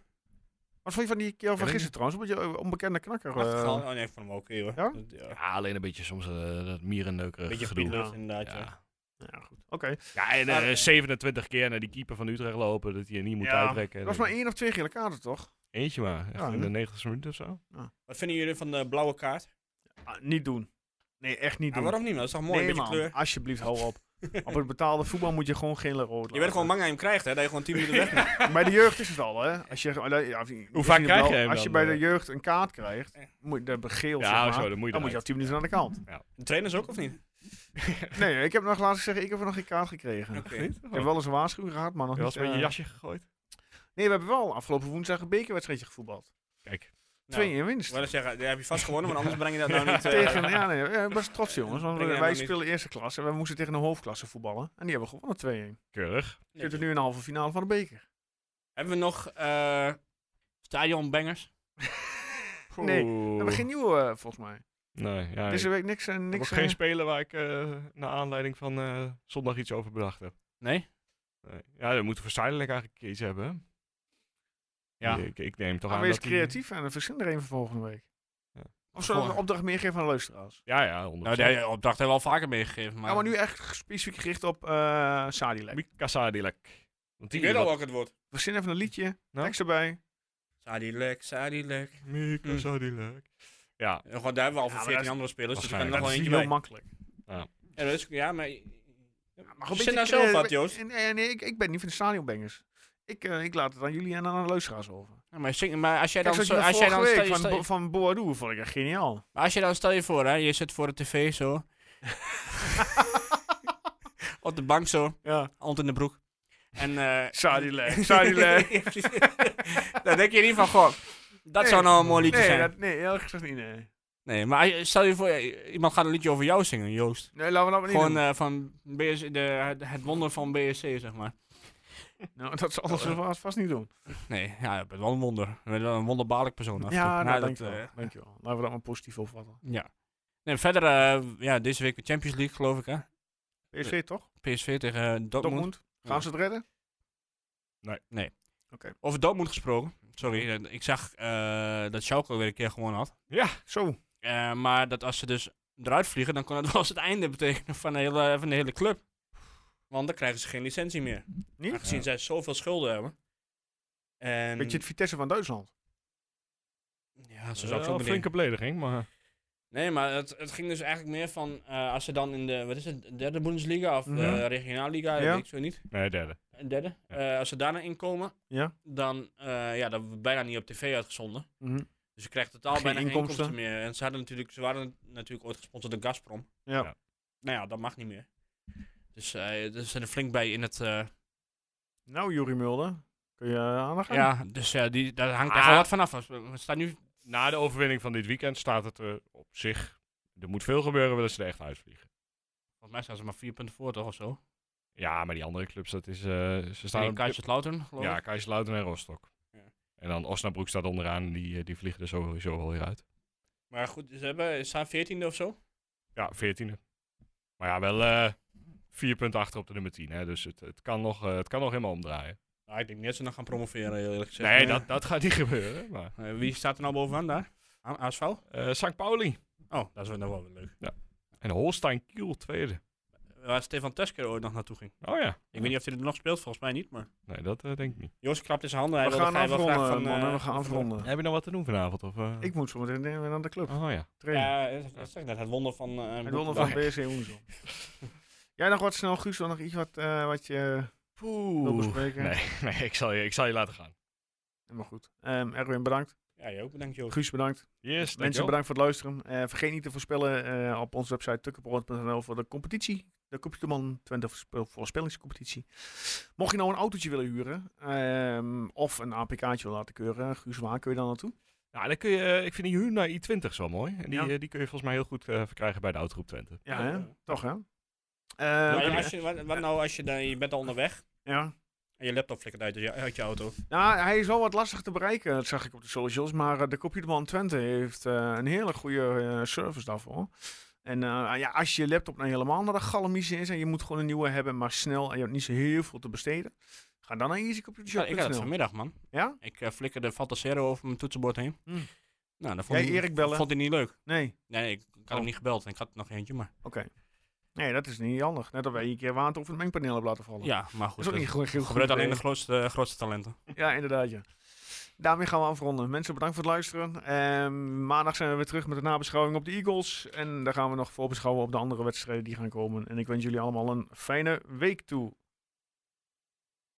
Speaker 1: Wat vond je van die kerel van
Speaker 4: Ken ik
Speaker 1: gisteren trouwens? Een beetje eh, onbekende knakker. eh.
Speaker 3: Achtergehaald. Oh nee, ik vond hem oké hoor.
Speaker 1: Ja?
Speaker 3: Dat- ja.
Speaker 4: Ja, alleen een beetje soms
Speaker 1: eh,
Speaker 4: dat mierenneukerige
Speaker 3: Beetje
Speaker 4: gedoe.
Speaker 3: gedoe. inderdaad. Ja.
Speaker 4: Ja.
Speaker 1: ja, goed. Oké.
Speaker 4: ja, en
Speaker 3: Maar,
Speaker 4: eh,
Speaker 3: eh,
Speaker 4: 27 keer naar die keeper van Utrecht lopen, dat hij er niet moet
Speaker 1: Ja,
Speaker 4: uitrekken. Dus
Speaker 1: Dat was maar één of twee gele kaarten, toch?
Speaker 4: Eentje maar, echt
Speaker 1: Ja,
Speaker 4: in de
Speaker 1: hè?
Speaker 4: 90ste minuut of zo.
Speaker 3: Wat vinden jullie van de blauwe kaart?
Speaker 1: Ah, niet doen. Nee, echt niet
Speaker 3: Ja,
Speaker 1: doen.
Speaker 3: waarom niet? man? Dat is toch
Speaker 1: nee,
Speaker 3: mooi, een beetje
Speaker 1: man.
Speaker 3: kleur.
Speaker 1: Alsjeblieft, hou op. Op het betaalde voetbal moet je gewoon geen rood laten.
Speaker 3: Je bent gewoon bang aan hem krijgt, hè? Dat je gewoon 10 minuten weg bent.
Speaker 1: Bij de jeugd is het al, hè? Als je, ja, of- misschien
Speaker 4: vaak krijg
Speaker 1: wel,
Speaker 4: je hem
Speaker 1: Als je
Speaker 4: dan,
Speaker 1: bij
Speaker 4: eh?
Speaker 1: de jeugd een kaart krijgt, moet je de geel
Speaker 4: Ja,
Speaker 1: zeg maar,
Speaker 4: zo, dan moet je eruit.
Speaker 1: al 10 minuten aan de kant.
Speaker 3: De trainers ook, of niet?
Speaker 1: Nee, ik heb nog laten zeggen, ik heb er nog geen kaart gekregen.
Speaker 3: Oké. Nou,
Speaker 1: Ik heb wel eens een waarschuwing gehad, maar nog
Speaker 4: Oh. Je was
Speaker 1: niet.
Speaker 4: met je
Speaker 1: eh,
Speaker 4: jasje gegooid.
Speaker 1: Nee, we hebben wel afgelopen woensdag een bekerwedstrijdje gevoetbald.
Speaker 4: Kijk,
Speaker 3: Nou,
Speaker 1: Twee in
Speaker 3: ik
Speaker 1: winst.
Speaker 3: wou net zeggen, daar heb je vast gewonnen, want anders breng je dat nou niet... eh,
Speaker 1: Tegen, ja, nee, ja, best trots jongens. Want
Speaker 3: Breng jij
Speaker 1: wij
Speaker 3: maar niet-
Speaker 1: spelen eerste klasse en we moesten tegen een hoofdklasse voetballen. En die hebben we gewonnen 2-1.
Speaker 4: keurig.
Speaker 1: We zitten nu in de halve finale van de beker.
Speaker 3: Hebben we nog eh stadionbangers?
Speaker 1: Nee, We hebben
Speaker 4: Oeh.
Speaker 1: geen nieuwe, eh, volgens mij.
Speaker 4: Nee, ja,
Speaker 1: Deze
Speaker 4: ik
Speaker 1: week niks en
Speaker 4: heb
Speaker 1: dus niks.
Speaker 4: ook
Speaker 1: eh,
Speaker 4: geen speler waar ik eh naar aanleiding van eh, zondag iets over bedacht heb.
Speaker 3: Nee?
Speaker 4: Nee. Ja, dan moeten we Silent eigenlijk een keertje hebben. hè?
Speaker 3: Ja.
Speaker 4: Ik, ik neem toch
Speaker 1: Maar
Speaker 4: aan
Speaker 1: wees
Speaker 4: dat die-
Speaker 1: creatief en dan verzin er een voor volgende week.
Speaker 4: Ja.
Speaker 1: Of zullen we
Speaker 3: Voor-
Speaker 1: een opdracht meer geven aan de luisteraars?
Speaker 4: Ja, ja, 100%.
Speaker 3: Nou, die opdracht hebben we al vaker meegegeven, maar...
Speaker 1: Ja, maar nu echt specifiek gericht op eh Sadilek.
Speaker 4: Mika Sadilek. Want
Speaker 3: Ik
Speaker 4: die
Speaker 3: weet
Speaker 4: is
Speaker 3: al
Speaker 4: wat-
Speaker 3: welk het wordt.
Speaker 1: Verzin even een liedje,
Speaker 4: Nou?
Speaker 1: tekst erbij.
Speaker 3: Sadilek, Sadilek.
Speaker 4: Mika
Speaker 3: Hm.
Speaker 4: Sadilek. Ja,
Speaker 3: Eh, Gewoon, daar hebben we al
Speaker 1: Ja,
Speaker 3: voor
Speaker 1: maar
Speaker 3: 14
Speaker 1: dat is-
Speaker 3: andere spelers, dus er kan er
Speaker 4: waarschijnlijk.
Speaker 3: nog
Speaker 1: dat
Speaker 3: wel
Speaker 1: is
Speaker 3: eentje
Speaker 1: heel
Speaker 3: bij.
Speaker 1: makkelijk.
Speaker 3: Ja, dat is- Ja, maar...
Speaker 1: Maar goed,
Speaker 3: Zit
Speaker 1: beetje
Speaker 3: nou zelf
Speaker 1: crea-
Speaker 3: wat, Joost.
Speaker 1: Nee, nee ik, ik ben niet van de stadionbangers. Ik, eh, ik laat het aan jullie en aan de luisteraars over.
Speaker 3: Ja, maar, zing- maar als jij
Speaker 1: Kijk,
Speaker 3: dan...
Speaker 1: zoals
Speaker 3: zo-
Speaker 1: je
Speaker 3: als jij dan
Speaker 1: vorige
Speaker 3: stel
Speaker 1: week van,
Speaker 3: je- stel
Speaker 1: Bo-
Speaker 3: je-
Speaker 1: van Boadu vond ik echt geniaal.
Speaker 3: maar als je dan, stel je voor, hè, je zit voor de tv zo. Op de bank zo,
Speaker 1: Ja.
Speaker 3: hand in de broek. En... eh
Speaker 1: Sadilek, Sadilek.
Speaker 3: Ja, precies. dan denk je niet van, goh, dat zou nou een mooi liedje
Speaker 1: nee,
Speaker 3: zijn.
Speaker 1: dat, nee, eerlijk gezegd niet, nee.
Speaker 3: Nee, maar als je- stel je voor, eh, iemand gaat een liedje over jou zingen, Joost.
Speaker 1: Nee, laten we dat maar niet
Speaker 3: Gewoon
Speaker 1: doen.
Speaker 3: eh, van BSC, de, het- het wonder van BSC, zeg maar.
Speaker 1: nou, dat
Speaker 3: eh,
Speaker 1: zal ze vast, vast niet doen.
Speaker 3: Nee, ja, je bent wel een wonder. Je bent wel een wonderbaarlijk persoon. af en toe.
Speaker 1: Ja,
Speaker 3: Nou,
Speaker 1: nou, dankjewel.
Speaker 3: eh,
Speaker 1: dankjewel. Laten we dat maar positief opvatten.
Speaker 3: ja. Nee, verder, eh, ja, deze week de Champions League, geloof ik, hè.
Speaker 1: PSV toch?
Speaker 3: PSV tegen eh, Dortmund.
Speaker 1: Dortmund. Gaan ze het redden?
Speaker 3: Over Dortmund gesproken. Sorry, eh, ik zag eh, dat Schalke weer een keer gewonnen had.
Speaker 1: Zo.
Speaker 3: Eh, maar dat als ze dus eruit vliegen, dan kan dat wel eens het einde betekenen van de hele, van de hele club. Want dan krijgen ze geen licentie meer.
Speaker 1: Niet?
Speaker 3: Aangezien zij zoveel schulden hebben. En
Speaker 1: Beetje het Vitesse van Duitsland.
Speaker 3: Ja, zo
Speaker 4: eh,
Speaker 3: zou
Speaker 4: wel
Speaker 3: ik zo
Speaker 4: een
Speaker 3: bedenken.
Speaker 4: flinke belediging, maar...
Speaker 3: Nee, maar het, het ging dus eigenlijk meer van eh, als ze dan in de, wat is het, derde Bundesliga of
Speaker 1: Mhm.
Speaker 3: de regionaalliga, dat
Speaker 1: Ja.
Speaker 3: weet ik zo niet,
Speaker 4: Nee, derde.
Speaker 3: een derde,
Speaker 4: Ja.
Speaker 3: Eh, als ze daarna inkomen,
Speaker 1: Ja.
Speaker 3: dan, eh, ja, dan worden we bijna niet op tv uitgezonden. Dus je krijgt totaal
Speaker 1: Geen
Speaker 3: bijna geen
Speaker 1: inkomsten.
Speaker 3: inkomsten meer. En ze, hadden natuurlijk, ze waren natuurlijk ooit gesponsord door Gazprom.
Speaker 1: Ja.
Speaker 4: Ja.
Speaker 3: Nou ja, dat mag niet meer. Dus eh ze zijn er flink bij in het, eh,
Speaker 1: Nou, Jurie Mulder. Kun je eh, aan de gang?
Speaker 3: ja, dus ja, die, daar hangt echt
Speaker 4: Ah.
Speaker 3: wel wat vanaf. Als We we staan nu
Speaker 4: Na de overwinning van dit weekend staat het er op zich... Er moet veel gebeuren, willen ze er echt uitvliegen.
Speaker 3: Volgens mij staan ze maar vier punten voor, toch? Of zo.
Speaker 4: Ja, maar die andere clubs, dat is... eh, ze staan
Speaker 3: Tegen
Speaker 4: op dit-
Speaker 3: Kaiserslautern, geloof ik.
Speaker 4: Ja, Kaiserslautern en Rostock.
Speaker 3: Ja.
Speaker 4: En dan Osnabrück staat onderaan, die, eh, die vliegen er sowieso wel weer uit.
Speaker 3: Maar goed, ze hebben, ze staan veertiende of zo.
Speaker 4: Ja, veertiende. Maar ja, wel eh vier punten achter op de nummer 10. Hè, dus het, het, kan nog, eh, het kan nog helemaal omdraaien.
Speaker 3: Nou, ik denk niet dat ze nog gaan promoveren, heel eerlijk gezegd.
Speaker 4: Nee,
Speaker 3: Eh,
Speaker 4: dat, dat gaat niet gebeuren. Maar,
Speaker 3: eh, wie staat er nou bovenaan daar? A- ASV? Oh,
Speaker 4: eh St. Pauli
Speaker 3: dat is wel nog wel weer leuk.
Speaker 4: en Holstein Kiel tweede.
Speaker 3: Waar Stefan Tesker ooit nog naartoe ging.
Speaker 4: Oh ja.
Speaker 3: Ik weet niet of hij er nog speelt, volgens mij niet, maar...
Speaker 4: Nee, dat eh, denk ik niet.
Speaker 3: Joost klapt in zijn handen. Hij
Speaker 1: We
Speaker 3: wilde
Speaker 1: gaan
Speaker 3: hij wil graag
Speaker 1: afronden,
Speaker 3: van,
Speaker 1: mannen.
Speaker 3: eh,
Speaker 1: we gaan afronden.
Speaker 4: Heb je nog wat te doen vanavond? Of, eh?
Speaker 1: Ik moet zo meteen weer naar de club.
Speaker 4: Oh ja.
Speaker 1: Trainen.
Speaker 3: Ja, eh, dat- dat zeg ik net. Het wonder van... eh,
Speaker 1: Het
Speaker 3: Boekenbach.
Speaker 1: wonder van BSC Hoensel. Jij nog wat snel, Guus, wel nog iets wat, eh, wat je wil
Speaker 4: Poeh.
Speaker 1: bespreken?
Speaker 4: Nee, nee ik, zal je, ik zal je laten gaan.
Speaker 1: Helemaal goed. Ehm, Erwin, bedankt.
Speaker 3: Ja, je ook bedankt, Joost.
Speaker 1: Guus, bedankt.
Speaker 4: Yes,
Speaker 1: Mensen,
Speaker 4: dankjewel.
Speaker 1: bedankt voor het luisteren. Eh, vergeet niet te voorspellen eh, op onze website tukkenbrood.nl voor de competitie. De Computerman Twente voorspel- voorspellingscompetitie. Mocht je nou een autootje willen huren ehm, of een APK'tje willen laten keuren, Guus, waar kun je dan naartoe?
Speaker 4: Nou, dan kun je, eh, ik vind die Hyundai i20 zo mooi. En die,
Speaker 1: Ja.
Speaker 4: eh, die kun je volgens mij heel goed eh, verkrijgen bij de Autogroep Twente.
Speaker 1: Ja,
Speaker 3: Ja.
Speaker 1: hè? toch hè? Eh,
Speaker 3: Maar
Speaker 1: ja,
Speaker 3: als je, wat, wat nou als je, dan, je bent al onderweg en je laptop flikkert uit, dus je- uit je auto?
Speaker 1: Nou, hij is wel wat lastig te bereiken, dat zag ik op de socials. Maar eh, de Computerman Twente heeft eh, een hele goede eh, service daarvoor. En eh, ja, als je laptop nou helemaal naar de galmise is en je moet gewoon een nieuwe hebben, maar snel en je hebt niet zo heel veel te besteden, ga dan naar
Speaker 3: Ja, ik had het
Speaker 1: easycomputershop.nl.
Speaker 3: vanmiddag, man.
Speaker 1: Ja?
Speaker 3: Ik eh, flikkerde Fantasero over mijn toetsenbord heen.
Speaker 1: Hmm.
Speaker 3: Nou, dat vond,
Speaker 1: Jij
Speaker 3: ik
Speaker 1: Erik bellen?
Speaker 3: vond hij niet leuk.
Speaker 1: Nee,
Speaker 3: Nee, ik, ik had hem
Speaker 1: Oh.
Speaker 3: niet gebeld. en Ik had er nog eentje, maar...
Speaker 1: oké. Nee, dat is niet handig. Net als wij een keer water over het mengpaneel hebben laten vallen.
Speaker 3: Ja, maar goed.
Speaker 1: dat is ook niet goed. heel
Speaker 3: Gebeurt
Speaker 1: goed
Speaker 3: alleen de
Speaker 1: idee.
Speaker 3: grootste, grootste talenten.
Speaker 1: Ja, inderdaad, ja. Daarmee gaan we afronden. Mensen, bedankt voor het luisteren. Ehm, maandag zijn we weer terug met de nabeschouwing op de Eagles. En daar gaan we nog voorbeschouwen op de andere wedstrijden die gaan komen. En ik wens jullie allemaal een fijne week toe.